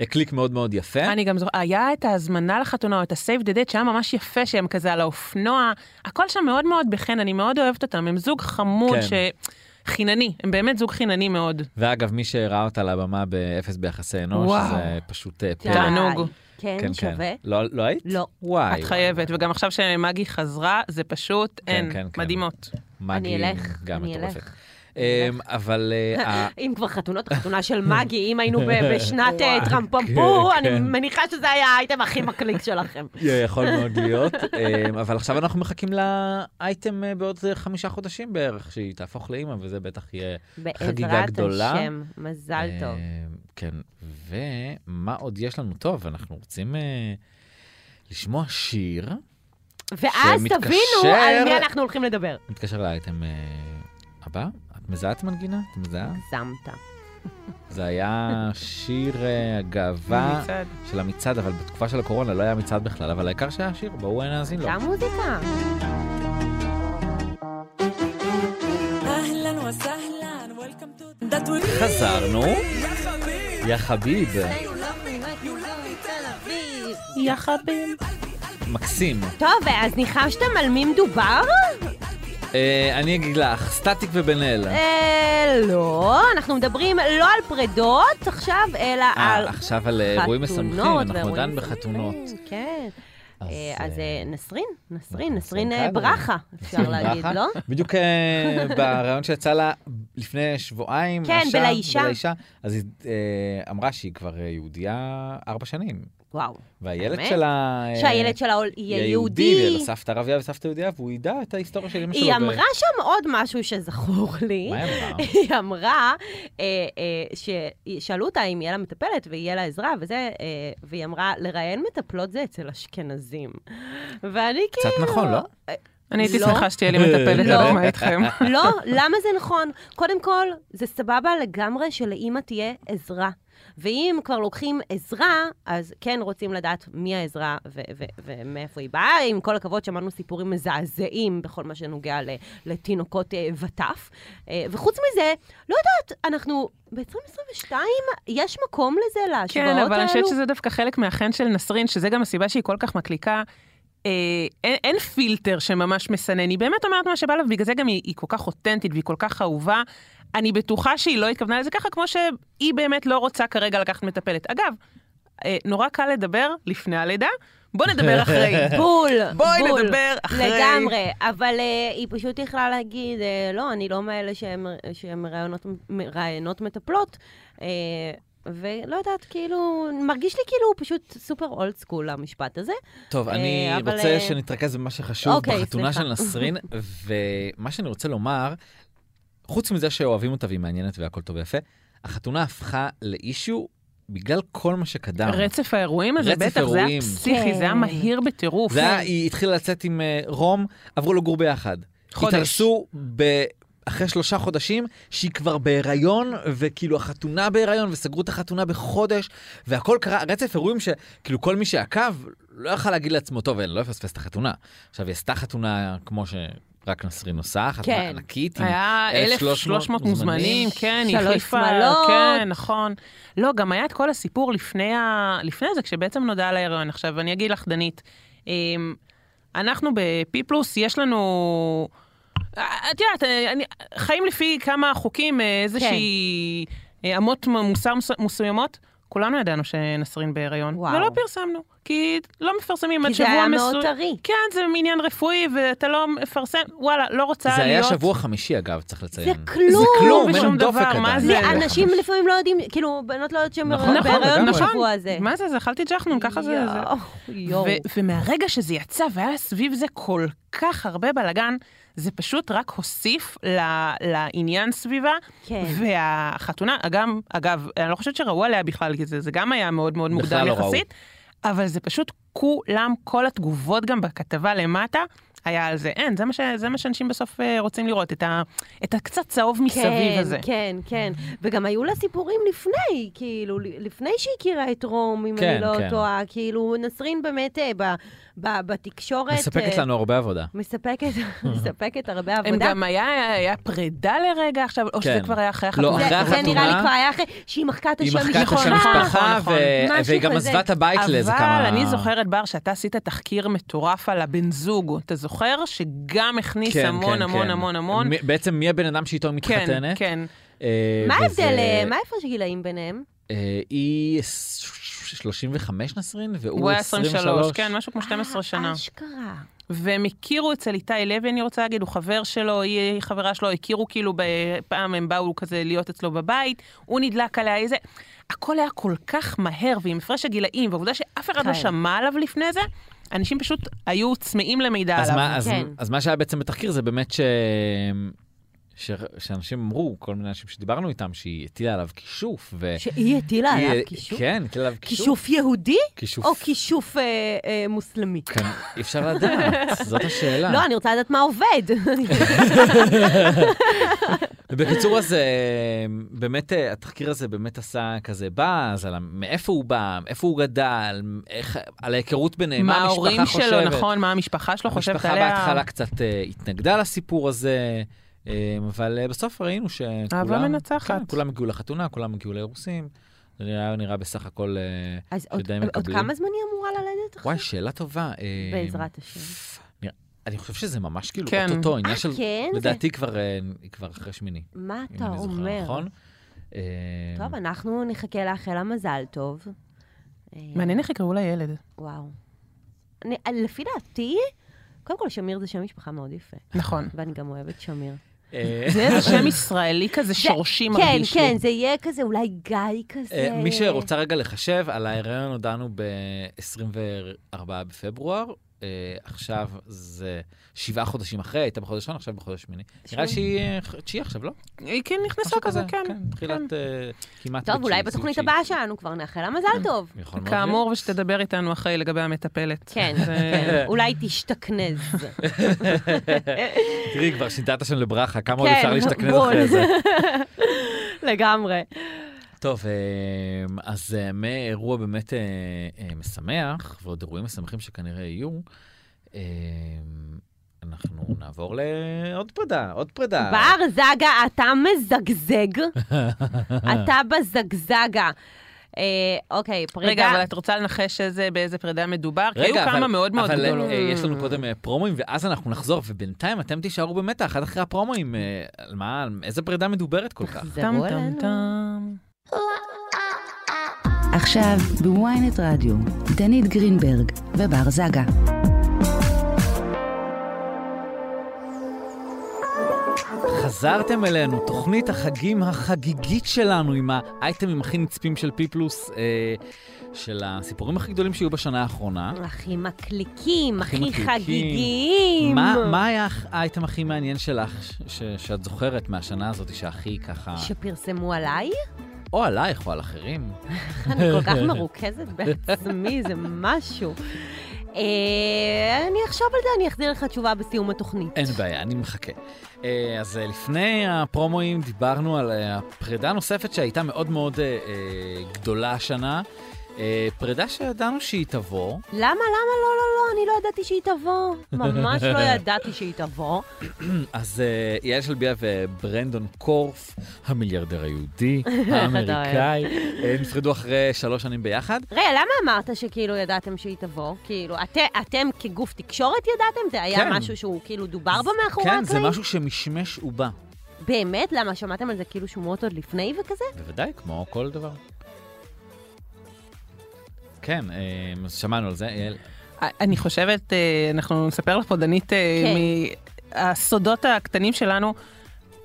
S3: אה, קליק מאוד מאוד יפה.
S5: <laughs> אני גם זוכרת, היה את ההזמנה לחתונה, או את ה-save the date, שהיה ממש יפה, שהם כזה על האופנוע. הכל שם מאוד מאוד בחן, אני מאוד אוהבת אותם. הם זוג חמוד
S3: כן.
S5: ש... חינני, הם באמת זוג חינני מאוד.
S3: ואגב, מי שראה אותה על הבמה באפס ביחסי אנוש,
S5: וואו.
S3: זה פשוט אה,
S4: די.
S3: פלא.
S5: תענוג.
S4: כן, שווה.
S3: לא, לא היית?
S4: לא.
S3: וואי.
S5: את
S3: וואי,
S5: חייבת, וגם עכשיו שמגי חזרה, זה פשוט
S3: כן,
S5: אין,
S3: כן, כן.
S5: מדהימות.
S3: וואי. מגי
S4: אני אלך,
S3: גם
S4: אני
S3: מטורפת.
S4: אלך.
S3: אה, אבל אה, ה-
S4: אם כבר חתונות, חתונה של מגי, אם היינו
S3: <laughs>
S4: ב- בשנת אה, טרמפומפו,
S3: כן,
S4: אני
S3: כן.
S4: מניחה שזה היה האייטם הכי מקליק
S3: <laughs>
S4: שלכם.
S3: יכול מאוד
S4: <laughs>
S3: להיות, אמ, אבל עכשיו אנחנו מחכים לאייטם אה, בעוד אה, חמישה חודשים בערך, שהיא תהפוך לאימא, וזה בטח יהיה חגיגה
S4: בעזרת
S3: גדולה.
S4: השם, מזל טוב.
S3: אמ, כן, ומה עוד יש לנו טוב? אנחנו רוצים אה, לשמוע שיר,
S4: ואז
S3: שמתקשר-
S4: תבינו על מי אנחנו הולכים לדבר.
S3: מתקשר לאייטם אה, הבא. את מזהה את המנגינה? את מזהה?
S4: הגזמת.
S3: זה היה שיר אה, הגאווה
S5: מצעד.
S3: של המצעד, אבל בתקופה של הקורונה לא היה מצעד בכלל, אבל העיקר שהיה שיר, בואו אה, נאזין לו.
S4: גם מוזיקה.
S6: اهلا وسهلا ويلكم تو ذات وي
S3: חזרנו,
S6: يا حبيب
S3: יא חביב,
S5: יא חביב.
S3: מקסים.
S4: טוב, אז ניחשתם על מי מדובר?
S3: אה, אני אגיד לך, סטטיק ובן אל.
S4: אה, לא, אנחנו מדברים לא על פרדות עכשיו, אלא על
S3: אה, עכשיו על אה, אירועים משמחים,
S4: חתונות
S3: אנחנו
S4: ואירועים
S3: דן בחתונות.
S4: משמחים, כן.
S3: אז,
S4: אה, אז
S3: אה,
S4: אה, נסרין, נסרין,
S3: נכון,
S4: נסרין
S3: נסרין
S4: אה,
S3: כברי.
S4: ברכה,
S3: <laughs>
S4: אפשר להגיד,
S3: ברכה.
S4: לא?
S3: בדיוק אה, בריאיון שיצא לה לפני שבועיים,
S4: כן,
S3: השעה,
S4: בלאישה.
S3: בלאישה, אז היא אה, אמרה שהיא כבר אה, יהודייה ארבע שנים,
S4: וואו.
S3: והילד
S4: באמת?
S3: שלה... אה,
S4: שהילד שלה עול- יהיה
S3: ויהיה
S4: יהודי.
S3: לה סבתא ערבייה וסבתא יהודייה, והוא ידע את ההיסטוריה של אמא שלו.
S4: היא
S3: ו-
S4: אמרה שם עוד משהו שזכור לי.
S3: מה היא אמרה?
S4: <laughs> היא אמרה, אה, אה, ששאלו אותה אם יהיה לה מטפלת ויהיה לה עזרה וזה, אה, והיא אמרה, לראיין מטפלות זה אצל אשכנזים. ואני
S3: קצת
S4: כאילו...
S3: נכון, לא?
S5: אני הייתי
S4: לא.
S5: שמחה שתהיה לי מטפלת, לא
S4: לא.
S5: יודעת מה
S4: <laughs>
S5: איתכם.
S4: לא, למה זה נכון? קודם כל, זה סבבה לגמרי שלאימא תהיה עזרה. ואם כבר לוקחים עזרה, אז כן רוצים לדעת מי העזרה ו- ו- ומאיפה היא באה. עם כל הכבוד, שמענו סיפורים מזעזעים בכל מה שנוגע ל- לתינוקות אה, וטף. אה, וחוץ מזה, לא יודעת, אנחנו ב-2022, יש מקום לזה, להשוואות
S5: כן,
S4: האלו?
S5: אבל אני חושבת שזה דווקא חלק מהחן של נסרין, שזה גם הסיבה שהיא כל כך מקליקה. אה, אין, אין פילטר שממש מסנן, היא באמת אומרת מה שבא לה, ובגלל זה גם היא, היא כל כך אותנטית והיא כל כך אהובה. אני בטוחה שהיא לא התכוונה לזה ככה, כמו שהיא באמת לא רוצה כרגע לקחת מטפלת. אגב, אה, נורא קל לדבר לפני הלידה, בוא נדבר
S3: <laughs>
S5: אחרי.
S4: בול,
S5: בואי
S4: בול.
S5: נדבר אחרי.
S4: לגמרי, אבל אה, היא פשוט יכלה להגיד, אה, לא, אני לא מאלה שהן שהן מראיינות- מראיינות מטפלות, אה, ולא יודעת, כאילו, מרגיש לי כאילו הוא פשוט סופר אולד סקול, המשפט הזה.
S3: טוב,
S4: אה,
S3: אני
S4: אבל,
S3: רוצה
S4: אה,
S3: שנתרכז במה שחשוב
S4: אוקיי,
S3: בחתונה
S4: סליחה.
S3: של נסרין, ומה שאני רוצה לומר, חוץ מזה שאוהבים אותה והיא מעניינת והכל טוב ויפה, החתונה הפכה לאישיו בגלל כל מה שקדם.
S5: רצף האירועים הזה,
S3: רצף
S5: בטח, זה היה
S3: אירועים.
S5: פסיכי, זה היה
S4: כן.
S5: מהיר בטירוף.
S3: זה היה, היא התחילה לצאת עם אה, רום, עברו לגור ביחד.
S5: חודש.
S3: התארסו ב... אחרי שלושה חודשים שהיא כבר בהיריון, וכאילו החתונה בהיריון, וסגרו את החתונה בחודש, והכל קרה, רצף אירועים שכאילו כל מי שעקב לא יכל להגיד לעצמו, טוב, אני לא אפספס את החתונה. עכשיו, היא עשתה חתונה כמו שרק נסרין עושה, חתונה
S4: כן.
S3: ענקית. עם-
S5: היה 1,300
S3: 1,300
S5: מוזמנים,
S3: מוזמנים.
S5: כן, היא
S4: שלוש
S5: החליפה,
S4: שמלות.
S5: כן, נכון. לא, גם היה את כל הסיפור לפני, ה... לפני זה, כשבעצם נודע על ההיריון. עכשיו, אני אגיד לך, דנית, אמ, אנחנו בפי פלוס, יש לנו... אה, את יודעת, אה, אני... חיים לפי כמה חוקים, אה, איזושהי
S4: כן.
S5: אה, אמות מוסר מס- מסוימות. כולנו ידענו שנסרין בהיריון,
S4: וואו.
S5: ולא פרסמנו, כי לא מפרסמים עד
S4: כי זה
S5: שבוע
S4: היה
S5: מסוים.
S4: מאוד טרי.
S5: כן, זה עניין רפואי, ואתה לא מפרסם, וואלה, לא רוצה
S3: זה היה
S5: להיות...
S3: שבוע חמישי, אגב, צריך לציין.
S4: כלום.
S3: זה כלום,
S5: ושום
S3: אין
S5: דבר,
S3: דופק
S5: מה
S3: עדיין.
S5: זה?
S3: שבוע
S4: אנשים
S3: חמישי.
S4: לפעמים לא יודעים, כאילו, בנות לא יודעות שהן
S3: נכון, נכון,
S4: בהיריון
S3: לגמרי.
S4: בשבוע הזה.
S5: מה זה, זה אכלתי ג'חנון, נכון, ככה זה... זה.
S4: יואו, יואו.
S5: ו- ומהרגע שזה יצא והיה סביב זה כל כך הרבה בלאגן, זה פשוט רק הוסיף ל- לעניין סביבה.
S4: כן.
S5: והחתונה, אגם, אגב, אני לא חושבת שראו עליה בכלל, כי זה, זה גם היה מאוד מאוד
S3: בכלל
S5: מוקדם
S3: לא ראו.
S5: יחסית, אבל זה פשוט כולם, כל התגובות גם בכתבה למטה. היה על זה, אין, זה מה, ש, זה מה שאנשים בסוף אה, רוצים לראות, את, ה, את הקצת צהוב מסביב הזה.
S4: כן, כן. וגם היו לה סיפורים לפני, כאילו, לפני שהיא הכירה את רום, אם
S3: כן,
S4: אני לא
S3: כן.
S4: טועה. כאילו, נסרין באמת אה, ב- ב- בתקשורת...
S3: מספקת
S4: אה,
S3: לנו הרבה עבודה. <laughs>
S4: מספקת, מספקת הרבה
S5: הם
S4: עבודה.
S5: גם היה, היה פרידה לרגע עכשיו, או שזה
S3: כן.
S5: כבר היה אחרי
S3: לא,
S5: החתונה.
S4: זה-
S3: אחרי
S4: זה נראה לי
S3: החתונה-
S4: כבר היה אחרי שהיא מחקה את
S3: היא
S4: השם
S3: מחקה את השם
S5: נכון,
S3: משפחה,
S5: נכון,
S3: ו-
S4: נכון.
S3: והיא
S4: משהו
S3: גם
S4: כזה.
S3: עזבה את הבית לאיזה כמה...
S5: אבל אני זוכרת, בר, שאתה עשית תחקיר מטורף על הבן זוג, אתה זוכר? שגם הכניס
S3: כן,
S5: המון
S3: כן,
S5: המון
S3: כן.
S5: המון המון.
S3: מי- בעצם מי הבן אדם שאיתו היא
S5: כן,
S3: מתחתנת?
S5: כן.
S3: אה,
S4: מה
S3: וזה-
S4: ההבדל, אה, מה ההפרש גילאים ביניהם?
S3: אה, היא 35 נסרין, והוא
S5: הוא היה 23,
S3: 23.
S5: כן, משהו כמו 12 שנה.
S4: אה, אשכרה.
S5: והם הכירו אצל איתי לוי, אני רוצה להגיד, הוא חבר שלו, היא חברה שלו, הכירו כאילו ב- פעם, הם באו כזה להיות אצלו בבית, הוא נדלק עליה איזה... הכל היה כל כך מהר, ועם הפרש הגילאים, והעובדה שאף אחד לא
S4: כן.
S5: שמע עליו לפני זה, אנשים פשוט היו צמאים למידע
S3: אז
S5: עליו.
S3: מה- אז-
S4: כן.
S3: אז מה שהיה בעצם בתחקיר זה באמת ש... ש... שאנשים אמרו, כל מיני אנשים שדיברנו איתם, שהיא הטילה עליו כישוף. ו...
S4: שהיא הטילה
S3: היא-
S4: עליו כישוף?
S3: כן, הטילה עליו כישוף.
S4: כישוף יהודי
S3: כישוף.
S4: או כישוף אה, אה, מוסלמי?
S3: כן, אי אפשר לדעת, זאת השאלה.
S4: לא, אני רוצה לדעת מה
S3: <laughs>
S4: עובד.
S3: בקיצור, אז אה, באמת, אה, התחקיר הזה באמת עשה כזה באז, על ה- מאיפה הוא בא, איפה הוא גדל, איך, על ההיכרות ביניהם, מה
S5: מה
S3: המשפחה
S5: ההורים
S3: חושבת.
S5: שלו, נכון, מה המשפחה שלו חושבת
S3: המשפחה
S5: עליה.
S3: בהתחלה קצת אה, התנגדה לסיפור הזה, אה, אבל אה, בסוף ראינו שכולם...
S5: אהבה מנצחת.
S3: כן, כולם הגיעו לחתונה, כולם הגיעו לאירוסים. זה היה נראה בסך הכל... אה,
S4: אז עוד,
S3: שדי
S4: עוד
S3: מקבלים.
S4: כמה זמן היא אמורה ללדת עכשיו?
S3: וואי, שאלה טובה. אה,
S4: בעזרת השם.
S3: נראה- אני חושב שזה ממש כאילו
S5: כן.
S3: אותו עניין
S4: אה,
S3: של...
S4: כן? זה-
S3: לדעתי כבר, אה, כבר אחרי שמיני.
S4: מה
S3: אם
S4: אתה
S3: אני זוכר
S4: אומר?
S3: נכון. אה,
S4: טוב, אנחנו נחכה לאחל לה מזל טוב. אה,
S5: מעניין איך יקראו לילד.
S4: וואו. אני, אה, לפי דעתי, קודם כל, שמיר זה שם משפחה מאוד יפה,
S5: נכון.
S3: <laughs>
S4: ואני גם אוהבת שמיר.
S3: אה,
S5: <laughs> זה איזה שם ישראלי כזה
S4: זה-
S5: שורשי
S4: כן,
S5: מרגיש לי.
S4: כן, זה יהיה כזה, אולי גיא כזה.
S3: אה, מי שרוצה רגע לחשב, על ההיריון הודענו ב-24 בפברואר. אה, עכשיו זה שבעה חודשים אחרי, הייתה בחודש ראשון, עכשיו בחודש שמיני. נראה
S4: שמונה.
S3: לי שהיא אה, ח- תשיעי עכשיו, לא?
S5: היא כן נכנסה
S3: משהו
S5: כזה, כן. כן.
S3: תחילת אה, כמעט...
S4: טוב,
S3: בתשיעי,
S4: אולי
S3: סביב
S4: בתוכנית
S3: תשיעי.
S4: הבאה שלנו כבר נאחל לה מזל
S3: <laughs>
S4: טוב.
S3: יכול מאוד להיות.
S5: כאמור, ושתדבר איתנו אחרי לגבי המטפלת.
S4: כן,
S5: זה-
S4: כן. אולי תשתכנז.
S3: <laughs>
S4: <laughs>
S3: תראי, כבר שינתה את השם לברכה, כמה עוד
S4: כן,
S3: אפשר להשתכנז
S4: בול.
S3: אחרי זה.
S4: לגמרי.
S3: טוב, אמ, אז אה, מאירוע באמת אה, אה, משמח, ועוד אירועים משמחים שכנראה יהיו, אמ, אנחנו נעבור לעוד פרידה, עוד פרידה.
S4: בר זגה, אתה
S3: <laughs>
S4: מזגזג. אתה בזגזגה. אה, אוקיי, פרידה.
S5: רגע, אבל את רוצה לנחש איזה, באיזה פרידה מדובר? כי היו
S3: רגע, אבל-
S5: כמה מאוד מאוד
S3: אבל אה,
S5: גדולות.
S3: אה, יש לנו קודם אה, פרומואים, ואז אנחנו נחזור, ובינתיים אתם תישארו במתח, אחד אחרי הפרומואים, אה, על
S5: <laughs>
S3: מה, על איזה פרידה מדוברת כל כך.
S5: טם
S4: תחזרו
S5: טם
S4: אלינו.
S5: טם.
S2: עכשיו בוויינט רדיו, דנית גרינברג ובר זגה.
S3: חזרתם אלינו, תוכנית החגים החגיגית שלנו עם האייטמים הכי נצפים של פי פלוס, אה, של הסיפורים הכי גדולים שהיו בשנה האחרונה.
S4: הכי מקליקים,
S3: הכי
S4: הכי
S3: מקליקים.
S4: חגיגיים.
S3: מה, מה היה האייטם הכי מעניין שלך, ש, ש, שאת זוכרת מהשנה הזאת, שהכי ככה,
S4: שפרסמו עליי?
S3: או עלייך או על אחרים?
S4: אני כל כך מרוכזת בעצמי, זה משהו. אה, אני אחשוב על זה, אני אחזיר לך תשובה בסיום התוכנית.
S3: אין בעיה, אני מחכה. אה, אז אה, לפני הפרומואים דיברנו על אה, הפרידה הנוספת שהייתה מאוד מאוד אה, אה, גדולה השנה. אה, פרידה שידענו שהיא תבוא,
S4: למה, למה, לא, לא, לא, אני לא ידעתי שהיא תבוא. ממש
S3: <laughs>
S4: לא ידעתי שהיא תבוא.
S3: אז אה, יעל שלביה וברנדון קורף, המיליארדר
S4: <laughs>
S3: היהודי, האמריקאי, אה, נפרדו אחרי שלוש שנים ביחד.
S4: רגע, למה אמרת שכאילו ידעתם שהיא תבוא? כאילו, את- אתם כגוף תקשורת ידעתם? זה היה
S3: כן.
S4: משהו שהוא כאילו דובר בו מאחורי
S3: כן, זה
S4: הקלעים?
S3: משהו שמשמש ובא.
S4: באמת? למה, שמעתם על זה כאילו שמועות עוד לפני וכזה?
S3: בוודאי, כמו כל דבר. כן, אה, אז שמענו על זה, יעל.
S5: אה, אני חושבת, אה, אנחנו נספר לך פה, דנית, אה,
S4: כן.
S5: מהסודות הקטנים שלנו.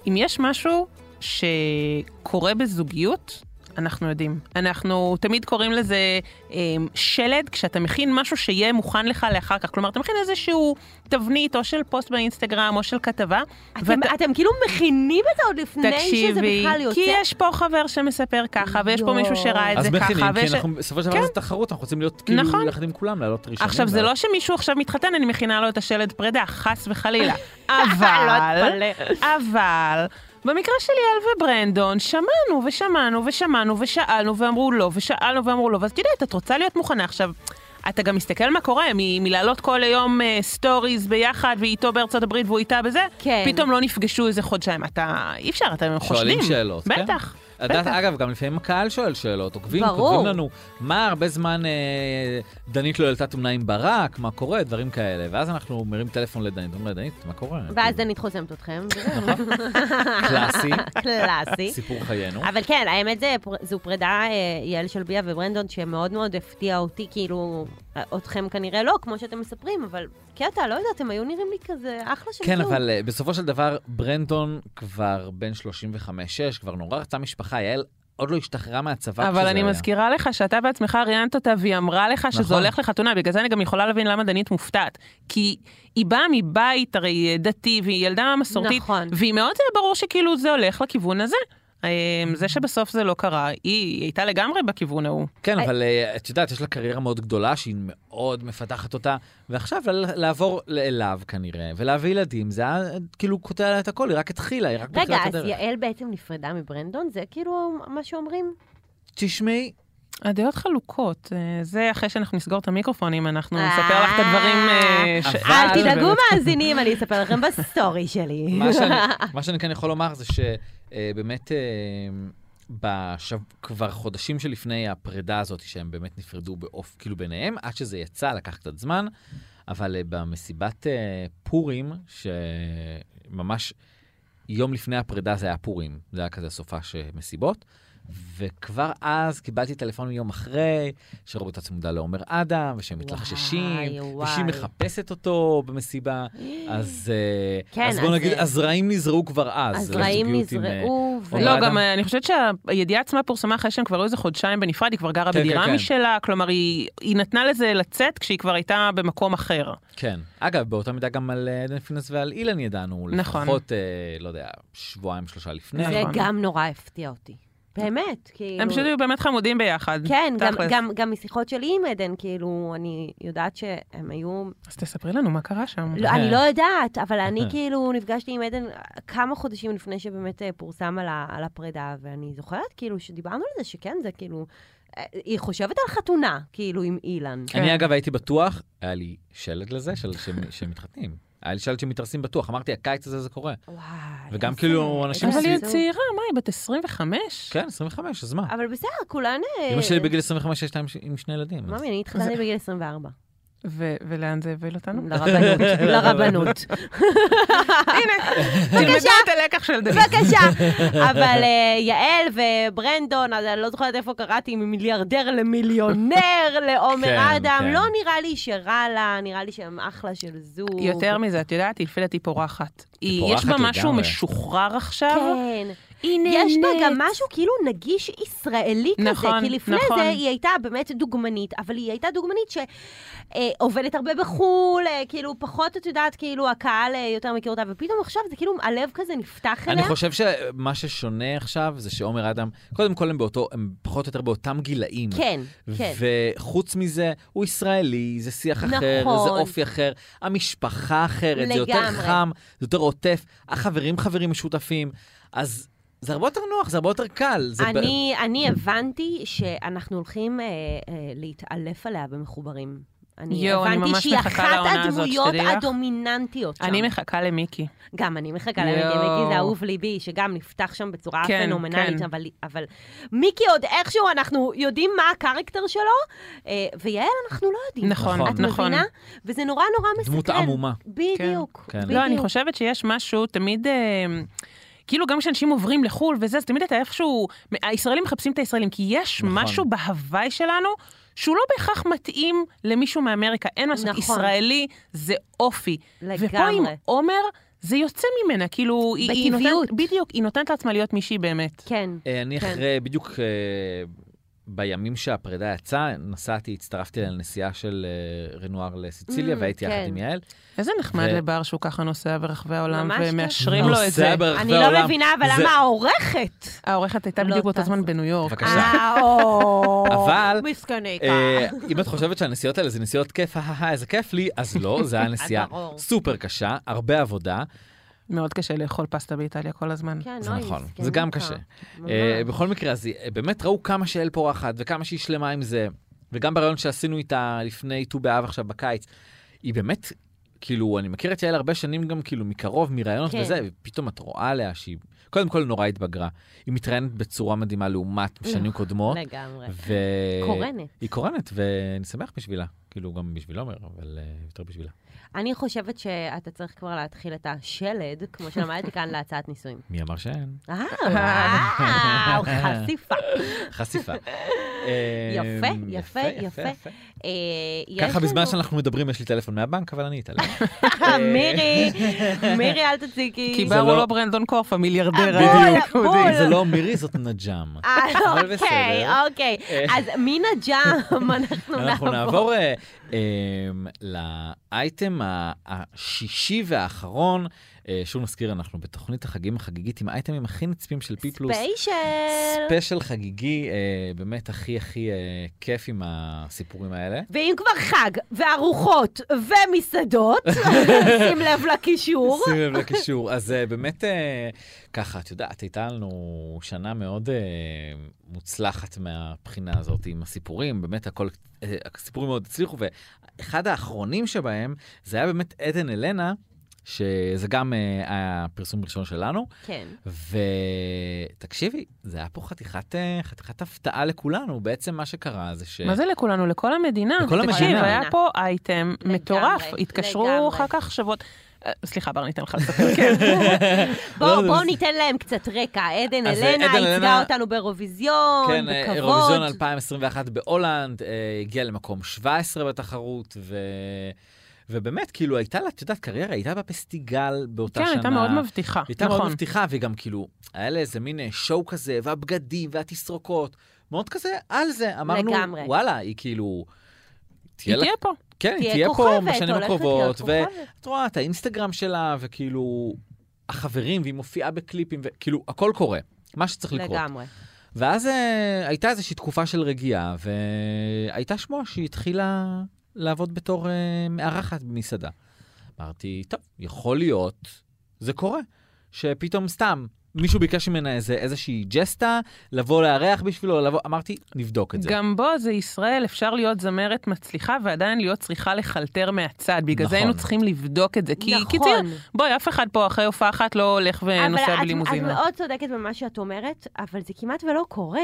S5: אם יש משהו שקורה בזוגיות, אנחנו יודעים. אנחנו תמיד קוראים לזה אה, שלד, כשאתה מכין משהו שיהיה מוכן לך לאחר כך. כלומר, אתה מכין איזשהו תבנית, או של פוסט באינסטגרם, או של כתבה.
S4: אתם, אתם כאילו מכינים את זה עוד לפני שזה בכלל יוצא?
S5: כי
S3: כן.
S5: יש פה חבר שמספר ככה, ויש פה
S4: יואו.
S5: מישהו שראה את
S3: אז
S5: זה ככה.
S3: מכינים, כי
S5: ויש-
S3: אנחנו בסופו של דבר
S5: כן.
S3: זו תחרות, אנחנו רוצים להיות כאילו
S5: נכון.
S3: יחד עם כולם, לעלות ראשונים.
S5: עכשיו, זה
S3: ואז-
S5: לא שמישהו עכשיו מתחתן, אני מכינה לו את השלד פרידה, חס וחלילה.
S4: <laughs> לא
S5: אבל,
S4: אתפלא.
S5: אבל, במקרה של יעל וברנדון, שמענו ושמענו ושמענו ושאלנו ואמרו לא, ושאלנו ואמרו לא, ואז את יודעת, את רוצה להיות מוכנה עכשיו. אתה גם מסתכל מה קורה, מ- מלהעלות כל היום אה, סטוריז ביחד, והיא איתו בארצות הברית והוא איתה בזה,
S4: כן.
S5: פתאום לא נפגשו איזה חודשיים. אתה, אי אפשר, אתם חושדים.
S3: שואלים שאלות, כן.
S5: לא בטח.
S3: את יודעת, אגב, גם לפעמים הקהל שואל שאלות, עוקבים,
S4: ברור.
S3: כותבים לנו, מה הרבה זמן אה, דנית לא העלתה תמונה עם ברק, מה קורה, דברים כאלה, ואז אנחנו מרים טלפון לדנית, אומרים לה, דנית, מה קורה? כאילו,
S4: ואז דנית חוסמת אתכם.
S3: נכון.
S4: <laughs>
S3: קלאסי,
S4: קלאסי.
S3: סיפור חיינו.
S4: אבל כן, האמת זה, פר- זו פרידה, אה, יעל שלביה וברנדון, שמאוד מאוד הפתיעה אותי, כאילו, אה, אתכם כנראה לא, כמו שאתם מספרים, אבל קטע, לא יודעת, הם היו נראים לי כזה אחלה של
S3: כן,
S4: זוג.
S3: אבל אה, בסופו של דבר, ברנדון כבר בן 35-6, כבר נורא רצה משפחה, יעל עוד לא השתחררה מהצבא כשזה
S5: אבל
S3: היה.
S5: אני מזכירה לך שאתה בעצמך ראיינת אותה והיא אמרה לך
S3: נכון.
S5: שזה הולך לחתונה, בגלל זה אני גם יכולה להבין למה דנית מופתעת. כי היא באה מבית הרי אה, דתי והיא ילדה מסורתית,
S4: נכון.
S5: והיא מאוד אה, ברור שכאילו זה הולך לכיוון הזה. אה, זה שבסוף זה לא קרה, היא- היא הייתה לגמרי בכיוון ההוא.
S3: כן, אבל אה, את יודעת, יש לה קריירה מאוד גדולה שהיא מאוד מפתחת אותה, ועכשיו ל- לעבור לאליו כנראה, ולהביא ילדים, זה היה אה, כאילו קוטע לה את הכל, היא רק התחילה, היא רק
S4: רגע,
S3: מתחילה את
S4: אז
S3: הדרך.
S4: יעל בעצם נפרדה מברנדון? זה כאילו מה שאומרים?
S3: תשמעי,
S5: הדעות חלוקות, אה, זה אחרי שאנחנו נסגור את המיקרופונים, אנחנו
S4: אה,
S5: נספר לך את הדברים. אה, ש-
S3: אבל-
S4: אל
S5: אה,
S4: תדאגו
S5: שבאמת-
S4: מאזינים, אני אספר לכם בסטורי שלי.
S5: <laughs>
S3: מה
S4: <laughs>
S3: שאני, מה שאני כן יכול לומר זה שבאמת אה, בשב... כבר חודשים שלפני הפרידה הזאת, שהם באמת נפרדו באוף, כאילו ביניהם, עד שזה יצא, לקח קצת זמן, אבל אה, במסיבת אה, פורים, שממש יום לפני הפרידה זה היה פורים, זה היה כזה סופה שמסיבות. וכבר אז קיבלתי טלפון מיום אחרי, שרוברט הצמודה לעומר אדם, ושהם מתלחששים,
S4: וואי,
S3: ושהיא
S4: וואי.
S3: מחפשת אותו
S4: <gasps>
S3: במסיבה. אז, אה,
S4: כן,
S3: אז בוא
S4: אז,
S3: נגיד,
S4: אה,
S3: הזרעים נזרעו כבר אז.
S4: הזרעים
S3: לזוגיות עם,
S4: נזרעו, ו...
S3: אה,
S5: לא,
S3: אדם.
S5: גם אה, אני חושבת שהידיעה עצמה פורסמה אחרי שהם כבר היו איזה חודשיים בנפרד, היא כבר גרה
S3: כן,
S5: בדירה
S3: כן, כן.
S5: משלה, כלומר היא היא נתנה לזה לצאת כשהיא כבר הייתה במקום אחר.
S3: אה, כן. אגב, באותה מידה גם על אה, עדן פינס ועל אילן ידענו.
S5: נכון.
S3: לפחות, אה, לא יודע, שבועיים, שלושה לפני.
S4: זה
S5: נכון.
S4: גם נורא הפתיע אותי. באמת, כאילו...
S5: הם פשוט היו באמת חמודים ביחד.
S4: כן, גם,
S5: תכלס.
S4: גם, גם משיחות שלי עם עדן, כאילו, אני יודעת שהם היו...
S5: אז תספרי לנו מה קרה שם.
S4: לא, אני לא יודעת, אבל
S5: <laughs>
S4: אני כאילו נפגשתי עם עדן כמה חודשים לפני שבאמת אה, פורסם על, ה, על הפרידה, ואני זוכרת כאילו שדיברנו על זה שכן, זה כאילו... אה, היא חושבת על חתונה, כאילו, עם אילן.
S5: כן.
S3: אני אגב הייתי בטוח, היה לי שלד לזה, של- שהם- שהם מתחתנים. היה לי שלד שמתארסים בטוח, אמרתי, הקיץ הזה זה קורה.
S4: וואי.
S3: וגם
S4: איזה-
S3: כאילו אנשים
S5: אבל היא
S4: איזה-
S5: צעירה, מה, היא בת 25?
S3: כן, 25, אז מה?
S4: אבל בסדר, כולן... אה,
S3: אמא שלי בגיל 25 יש להם ש- עם שני ילדים. אז-
S4: ממי, אני התחתנתי בגיל 24.
S5: ו- ולאן זה הביא אותנו?
S4: <laughs> לרבנות, <laughs> לרבנות.
S5: תלמדו את הלקח של דוד.
S4: בבקשה. אבל אה, יעל וברנדון, אז אני לא זוכרת איפה קראתי, ממיליארדר <laughs> למיליונר,
S3: כן,
S4: לעומר אדם,
S3: כן.
S4: לא נראה לי שרע לה, נראה לי שהם אחלה של זוג.
S5: יותר מזה, את יודעת, היא לפי דעתי פורחת. היא- יש בה
S3: פורחת
S5: משהו
S3: לגמרי.
S5: משוחרר עכשיו.
S4: כן. יש בה גם משהו כאילו נגיש ישראלי כזה,
S5: נכון,
S4: כי לפני
S5: נכון.
S4: זה היא הייתה באמת דוגמנית, אבל היא הייתה דוגמנית שעובדת הרבה בחו"ל, אה, כאילו פחות, את יודעת, כאילו הקהל אה, יותר מכיר אותה, ופתאום עכשיו זה כאילו הלב כזה נפתח
S3: אני
S4: אליה.
S3: חושב שמה ששונה עכשיו זה שעומר אדם, קודם כל הם באותו, הם פחות או יותר באותם גילאים.
S4: כן, כן.
S3: וחוץ מזה, הוא ישראלי, זה שיח אחר,
S4: נכון.
S3: זה אופי אחר, המשפחה אחרת, זה יותר
S4: לגמרי.
S3: חם, זה יותר עוטף, החברים חברים משותפים, אז זה הרבה יותר נוח, זה הרבה יותר קל. זה ב-
S4: אני, אני הבנתי שאנחנו הולכים אה, אה, להתעלף עליה במחוברים. אני
S5: יואו, אני
S4: הבנתי
S5: ממש
S4: שהיא
S5: מחכה
S4: אחת
S5: לעונה הזאת,
S4: הדמויות
S5: שתדעי לך.
S4: הדומיננטיות שם.
S5: אני מחכה למיקי.
S4: גם אני מחכה
S5: יואו.
S4: למיקי, מיקי זה אהוב ליבי, שגם נפתח שם בצורה
S5: כן,
S4: פנומנלית,
S5: כן.
S4: אבל, אבל מיקי עוד איכשהו, אנחנו יודעים מה הקרקטר שלו, אה, ויעל אנחנו לא יודעים.
S5: נכון,
S3: נכון.
S4: את
S5: נכון.
S4: מבינה? וזה נורא נורא מסקרן.
S3: דמות עמומה.
S4: בדיוק,
S3: כן.
S4: בדיוק.
S5: לא, אני חושבת שיש משהו תמיד... אה, כאילו גם כשאנשים עוברים לחו"ל וזה, אז תמיד אתה איפשהו... הישראלים מחפשים את הישראלים, כי יש
S3: נכון.
S5: משהו בהוואי שלנו שהוא לא בהכרח מתאים למישהו מאמריקה. אין מה לעשות,
S4: נכון.
S5: ישראלי זה אופי. ופה עם
S4: לגמרי.
S5: עומר, זה יוצא ממנה, כאילו... היא- היא נותנת-
S4: בטבעיות.
S5: בדיוק, היא נותנת לעצמה להיות מישהי באמת.
S4: כן.
S3: אה, אני
S4: כן.
S3: אחרי, בדיוק אה, בימים שהפרידה יצאה, נסעתי, הצטרפתי לנסיעה של אה, רנואר לסיציליה,
S4: Mm,
S3: והייתי יחד
S4: כן.
S3: עם יעל.
S5: איזה נחמד
S3: ו-
S5: לבר שהוא ככה נוסע ברחבי העולם
S4: ממש כיף.
S5: ומאשרים לו את זה.
S3: נוסע ברחבי
S4: אני לא
S3: העולם.
S4: מבינה, אבל
S3: זה-
S4: למה העורכת?
S5: העורכת הייתה
S4: לא
S5: בדיוק באותו
S4: טסה.
S5: זמן בניו יורק.
S3: בבקשה.
S4: אה, או,
S3: <laughs> אבל,
S4: מסכנית.
S3: אה, אם את חושבת שהנסיעות האלה זה נסיעות כיף, אהה, איזה כיף לי, אז לא, זה היה נסיעה
S4: אה, ברור.
S3: סופר קשה, הרבה עבודה,
S5: מאוד קשה לאכול פסטה באיטליה כל הזמן.
S4: כן,
S3: זה
S4: אוי,
S3: נכון, זה
S4: מסכנית.
S3: גם קשה.
S4: ממש.
S3: אה, בכל מקרה, אז אה, באמת ראו כמה שיעל פורחת וכמה שהיא שלמה עם זה, וגם ברעיון שעשינו איתה לפני ט"ו באב עכשיו בקיץ, היא באמת, כאילו, אני מכיר את יעל הרבה שנים גם כאילו מקרוב, מראיונות
S4: כן.
S3: וזה, ופתאום את רואה עליה שהיא, קודם כל נורא התבגרה. היא מתראיינת בצורה מדהימה לעומת שנים קודמות.
S4: אה, לגמרי.
S3: ו...
S4: קורנת.
S3: היא קורנת, ואני שמח בשבילה. כאילו, גם בשביל עומר, אבל אה, יותר בשבילה.
S4: אני חושבת שאתה צריך כבר להתחיל את השלד, כמו שלמדתי כאן, להצעת נישואים.
S3: מי אמר שאין?
S4: אה, וואו, חשיפה.
S3: חשיפה. אה,
S4: <laughs> יפה, יפה, יפה. אה, יש
S3: ככה בזמן אה,
S4: לנו- נכון.
S3: שאנחנו מדברים, יש לי טלפון מהבנק, אבל אני
S4: <laughs>
S3: אתעלם. <laughs>
S4: מירי, מירי, אל תציקי.
S5: כי
S3: זה
S5: בר הוא
S3: לא-
S5: לא ברנדון קורף, המיליארדר
S4: אה, בול,
S5: היהודי.
S4: בול.
S3: זה לא מירי, זאת נג'ם.
S4: אה,
S3: אבל
S4: אוקיי,
S3: בסדר.
S4: אוקיי.
S3: אה.
S4: אז מן הג'אם
S3: אנחנו
S4: אנחנו נעבור.
S3: נעבור אה, אמ, לאייטם ה- השישי והאחרון. אה, שוב נזכיר, אנחנו בתוכנית החגים החגיגית עם האייטמים הכי נצפים של פי פלוס.
S4: ספיישל.
S3: ספיישל חגיגי, אה, באמת הכי הכי אה, כיף עם הסיפורים האלה.
S4: ואם כבר חג, וארוחות,
S3: <laughs>
S4: ומסעדות, שים לב לקישור.
S3: שים לב לקישור. אז אה, באמת, אה, ככה, את יודעת, הייתה לנו שנה מאוד אה, מוצלחת מהבחינה הזאת עם הסיפורים, באמת הכל, אה, הסיפורים מאוד הצליחו, ואחד האחרונים שבהם, זה היה באמת עדן אלנה, שזה גם אה, היה הפרסום הראשון שלנו,
S4: כן.
S3: ותקשיבי, זה היה פה חתיכת, אה, חתיכת הפתעה לכולנו, בעצם מה שקרה זה ש...
S5: כן. מה זה לכולנו? לכל המדינה.
S3: לכל
S5: תקשיב,
S3: המדינה.
S5: היה פה אייטם
S4: לגמרי,
S5: מטורף. התקשרו
S4: לגמרי.
S5: אחר כך שבועות... אה, סליחה, בר, אני אתן לך לספר.
S3: <laughs>
S5: כן.
S3: לא,
S4: בואו
S3: זה-
S4: בוא ניתן להם קצת רקע. עדן
S3: אז,
S4: אלנה
S3: עדן
S4: ייצגה
S3: אלנה-
S4: אותנו באירוויזיון,
S3: כן, אה,
S4: נכון, בכבוד.
S3: אירוויזיון 2021 בהולנד, אה, הגיעה למקום 17 בתחרות, ו... ובאמת, כאילו, הייתה לה, את יודעת, קריירה, הייתה בפסטיגל באותה
S5: כן,
S3: שנה.
S5: הייתה מאוד מבטיחה.
S3: היא הייתה מאוד
S5: נכון.
S3: מבטיחה, והיא גם כאילו, היה לה איזה מין אה, שואו כזה, והבגדים, והתסרוקות, מאוד כזה על זה. אמרנו,
S4: לגמרי.
S3: וואלה, היא כאילו...
S5: היא
S3: לה-
S5: תהיה פה.
S3: כן, היא
S4: תהיה
S3: תהיה פה
S4: כוכבת,
S3: בשנים
S4: הולכת להיות
S3: הקרובות,
S4: כוכבת.
S3: ואת רואה את האינסטגרם שלה, וכאילו, החברים, והיא מופיעה בקליפים, וכאילו, הכל קורה, מה שצריך לקרות.
S4: לגמרי.
S3: ואז אה, הייתה איזושהי תקופה של רגיעה, והייתה שמועה שהיא התחילה לעבוד בתור אה, מארחת במסעדה. אמרתי, טוב, יכול להיות, זה קורה, שפתאום סתם מישהו ביקש ממנה איזה, איזושהי ג'סטה, לבוא לארח בשבילו, לבוא, אמרתי, נבדוק את זה.
S5: גם בו זה ישראל, אפשר להיות זמרת מצליחה ועדיין להיות צריכה לחלטר מהצד. בגלל זה
S3: נכון.
S5: היינו צריכים לבדוק את זה. כי
S4: נכון.
S5: כי תראה, בואי, אף אחד פה אחרי הופעה אחת לא הולך
S4: אבל לא
S5: ונוסע
S4: את, את
S5: בלימוזינה.
S4: מאוד צודקת במה שאת אומרת, אבל זה כמעט ולא קורה.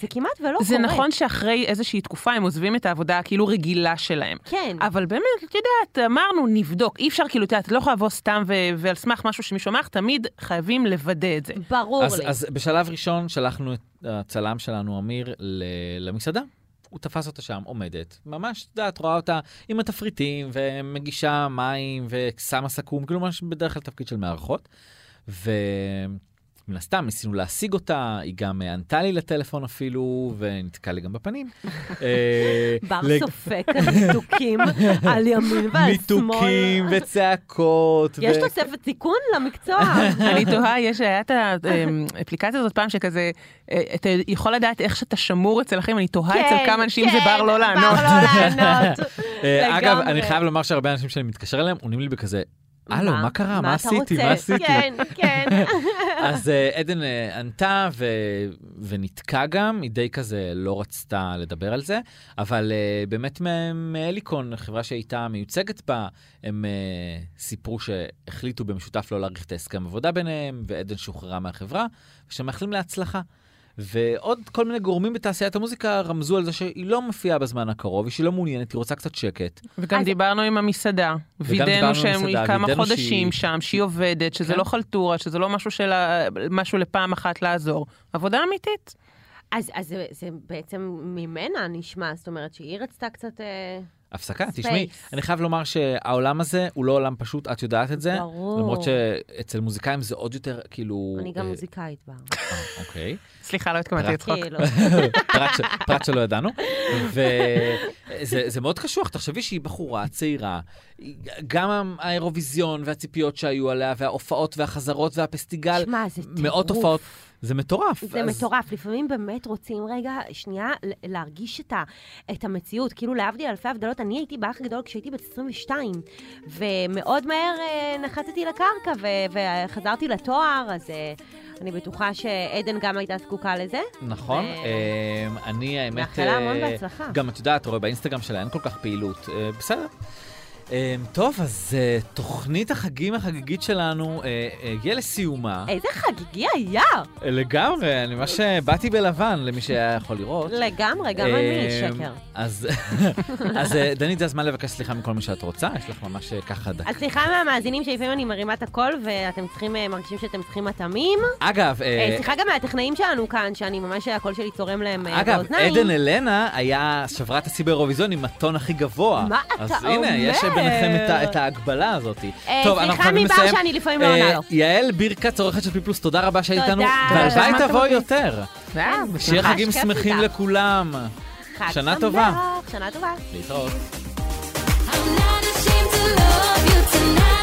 S4: זה כמעט ולא
S5: זה
S4: קורה.
S5: נכון שאחרי איזושהי תקופה הם עוזבים את העבודה הכאילו רגילה שלהם.
S4: כן.
S5: אבל באמת, את יודעת, אמרנו, נבדוק. אי אפשר, כאילו, את יודעת, לא יכולה לבוא סתם ו- ועל סמך משהו שמישהו אמר, תמיד חייבים לוודא
S4: <laughs>
S5: את זה.
S4: ברור
S3: אז,
S4: לי.
S3: אז בשלב ראשון שלחנו את הצלם שלנו, אמיר, ל- למסעדה. הוא תפס אותה שם, עומדת. ממש, את יודעת, רואה אותה עם התפריטים, ומגישה מים, ושמה סכו"ם, כאילו ממש בדרך כלל תפקיד של מארחות. ומן הסתם ניסינו להשיג אותה, היא גם אה, ענתה לי לטלפון אפילו, ונתקע לי גם
S4: <laughs>
S3: בפנים. אה,
S4: בר
S3: לג-
S4: סופק על
S3: <laughs>
S4: ניתוקים על ימין ועל שמאל.
S3: מיתוקים וצעקות.
S4: יש
S3: ו-
S4: תוספת סיכון
S3: <laughs>
S4: למקצוע.
S5: אני תוהה, יש, היה את האפליקציה הזאת פעם שכזה, אה, אתה יכול לדעת איך שאתה שמור אצל אחרים, אני תוהה אצל
S4: כן,
S5: כמה אנשים זה
S4: כן,
S5: בר לא לענות.
S4: בר לא לענות.
S3: <laughs> אה, אגב,
S4: לגמרי.
S3: אני חייב לומר שהרבה אנשים שאני מתקשר אליהם עונים לי בכזה, הלו, מה קרה? מה
S4: אתה
S3: עשיתי?
S4: רוצה?"
S3: מה עשיתי?
S4: כן, כן.
S3: <laughs> אז אה, עדן אה, ענתה ו... ונתקע גם, היא די כזה לא רצתה לדבר על זה, אבל אה, באמת מ- מאליקון, חברה שהייתה מיוצגת בה, הם אה, סיפרו שהחליטו במשותף לא להאריך את ההסכם עבודה ביניהם, ועדן שוחררה מהחברה, ושמאחלים לה הצלחה. ועוד כל מיני גורמים בתעשיית המוזיקה רמזו על זה שהיא לא מופיעה בזמן הקרוב, היא שהיא לא מעוניינת, היא רוצה קצת שקט.
S5: וגם
S4: אז-
S5: דיברנו עם המסעדה,
S3: דיברנו עם
S5: וידאנו שהם
S3: המסעדה,
S5: כמה
S3: וידאנו שהיא-
S5: חודשים שם, שהיא עובדת, שזה
S3: כן.
S5: לא חלטורה, שזה לא משהו של ה- משהו לפעם אחת לעזור. עבודה אמיתית.
S4: אז אז זה- זה בעצם ממנה נשמע, זאת אומרת שהיא רצתה קצת... אה,
S3: הפסקה,
S4: Space.
S3: תשמעי, אני חייב לומר שהעולם הזה הוא לא עולם פשוט, את יודעת את זה.
S4: ברור.
S3: למרות שאצל מוזיקאים זה עוד יותר, כאילו...
S4: אני גם
S3: אה,
S4: מוזיקאית
S3: <laughs>
S4: בר.
S3: אה, אוקיי.
S5: סליחה, לא התכוונתי
S3: רק-
S5: לצחוק.
S4: כאילו.
S3: פרט ש- פרט שלא ידענו. וזה זה מאוד קשוח, תחשבי שהיא בחורה צעירה, היא- גם האירוויזיון והציפיות שהיו עליה, וההופעות והחזרות והפסטיגל,
S4: שמע, זה טירוף.
S3: מאות הופעות, זה מטורף.
S4: זה
S3: אז-
S4: מטורף, לפעמים באמת רוצים רגע, שנייה, ל- להרגיש את, ה, את המציאות. כאילו, להבדיל אלפי הבדלות, אני הייתי באח גדול כשהייתי בת 22, ומאוד מהר אה, נחתתי לקרקע ו, וחזרתי לתואר, אז אה, אני בטוחה שעדן גם הייתה זקוקה לזה.
S3: נכון, אמ, אני האמת...
S4: מאחלה המון
S3: אה,
S4: בהצלחה.
S3: גם את יודעת, רואה באינסטגרם שלה אין כל כך פעילות, אה, בסדר. אמ, טוב, אז אה, תוכנית החגים החגיגית שלנו אה, אה, הגיעה לסיומה.
S4: איזה חגיגי היה!
S3: אה, לגמרי, אני ממש אה, באתי בלבן, למי שהיה יכול לראות.
S4: לגמרי, גם אני
S3: אמ,
S4: שקר.
S3: אז <laughs> אז, אה, דנית, זה הזמן לבקש סליחה מכל מי שאת רוצה, יש לך ממש אה, ככה דקה.
S4: אז סליחה מהמאזינים שלפעמים אני מרימה את הקול ואתם צריכים, אה, מרגישים שאתם צריכים מטעמים.
S3: אגב, אה,
S4: אה, סליחה גם מהטכנאים שלנו כאן, שאני ממש, הקול שלי צורם להם אה,
S3: אגב,
S4: באוזניים.
S3: עדן אלנה היה, שברה את השיא באירוויזיון עם הטון הכי גבוה.
S4: מה
S3: אז
S4: אתה
S3: הנה, יש
S4: אומר?
S3: ביניכם את, ה- את ההגבלה הזאת.
S4: אה,
S3: טוב,
S4: סליחה
S3: אנחנו חייבים
S4: מבר
S3: לסיים. אה,
S4: שאני לפעמים לא עונה לו.
S3: יעל בירקץ, עורכת של פלוס, תודה רבה שהיית
S4: תודה.
S3: איתנו.
S4: תודה
S3: והלוואי
S5: שהזמנתם
S3: תבואי
S5: אותי.
S3: יותר.
S5: ואז,
S3: שיהיה
S4: ממש
S3: חגים
S4: כיף
S3: שמחים
S4: איתך.
S3: לכולם.
S4: חג
S3: שנה
S4: שמח,
S3: טובה.
S4: שנה טובה.
S3: להתראות.
S6: I'm not ashamed to love you tonight.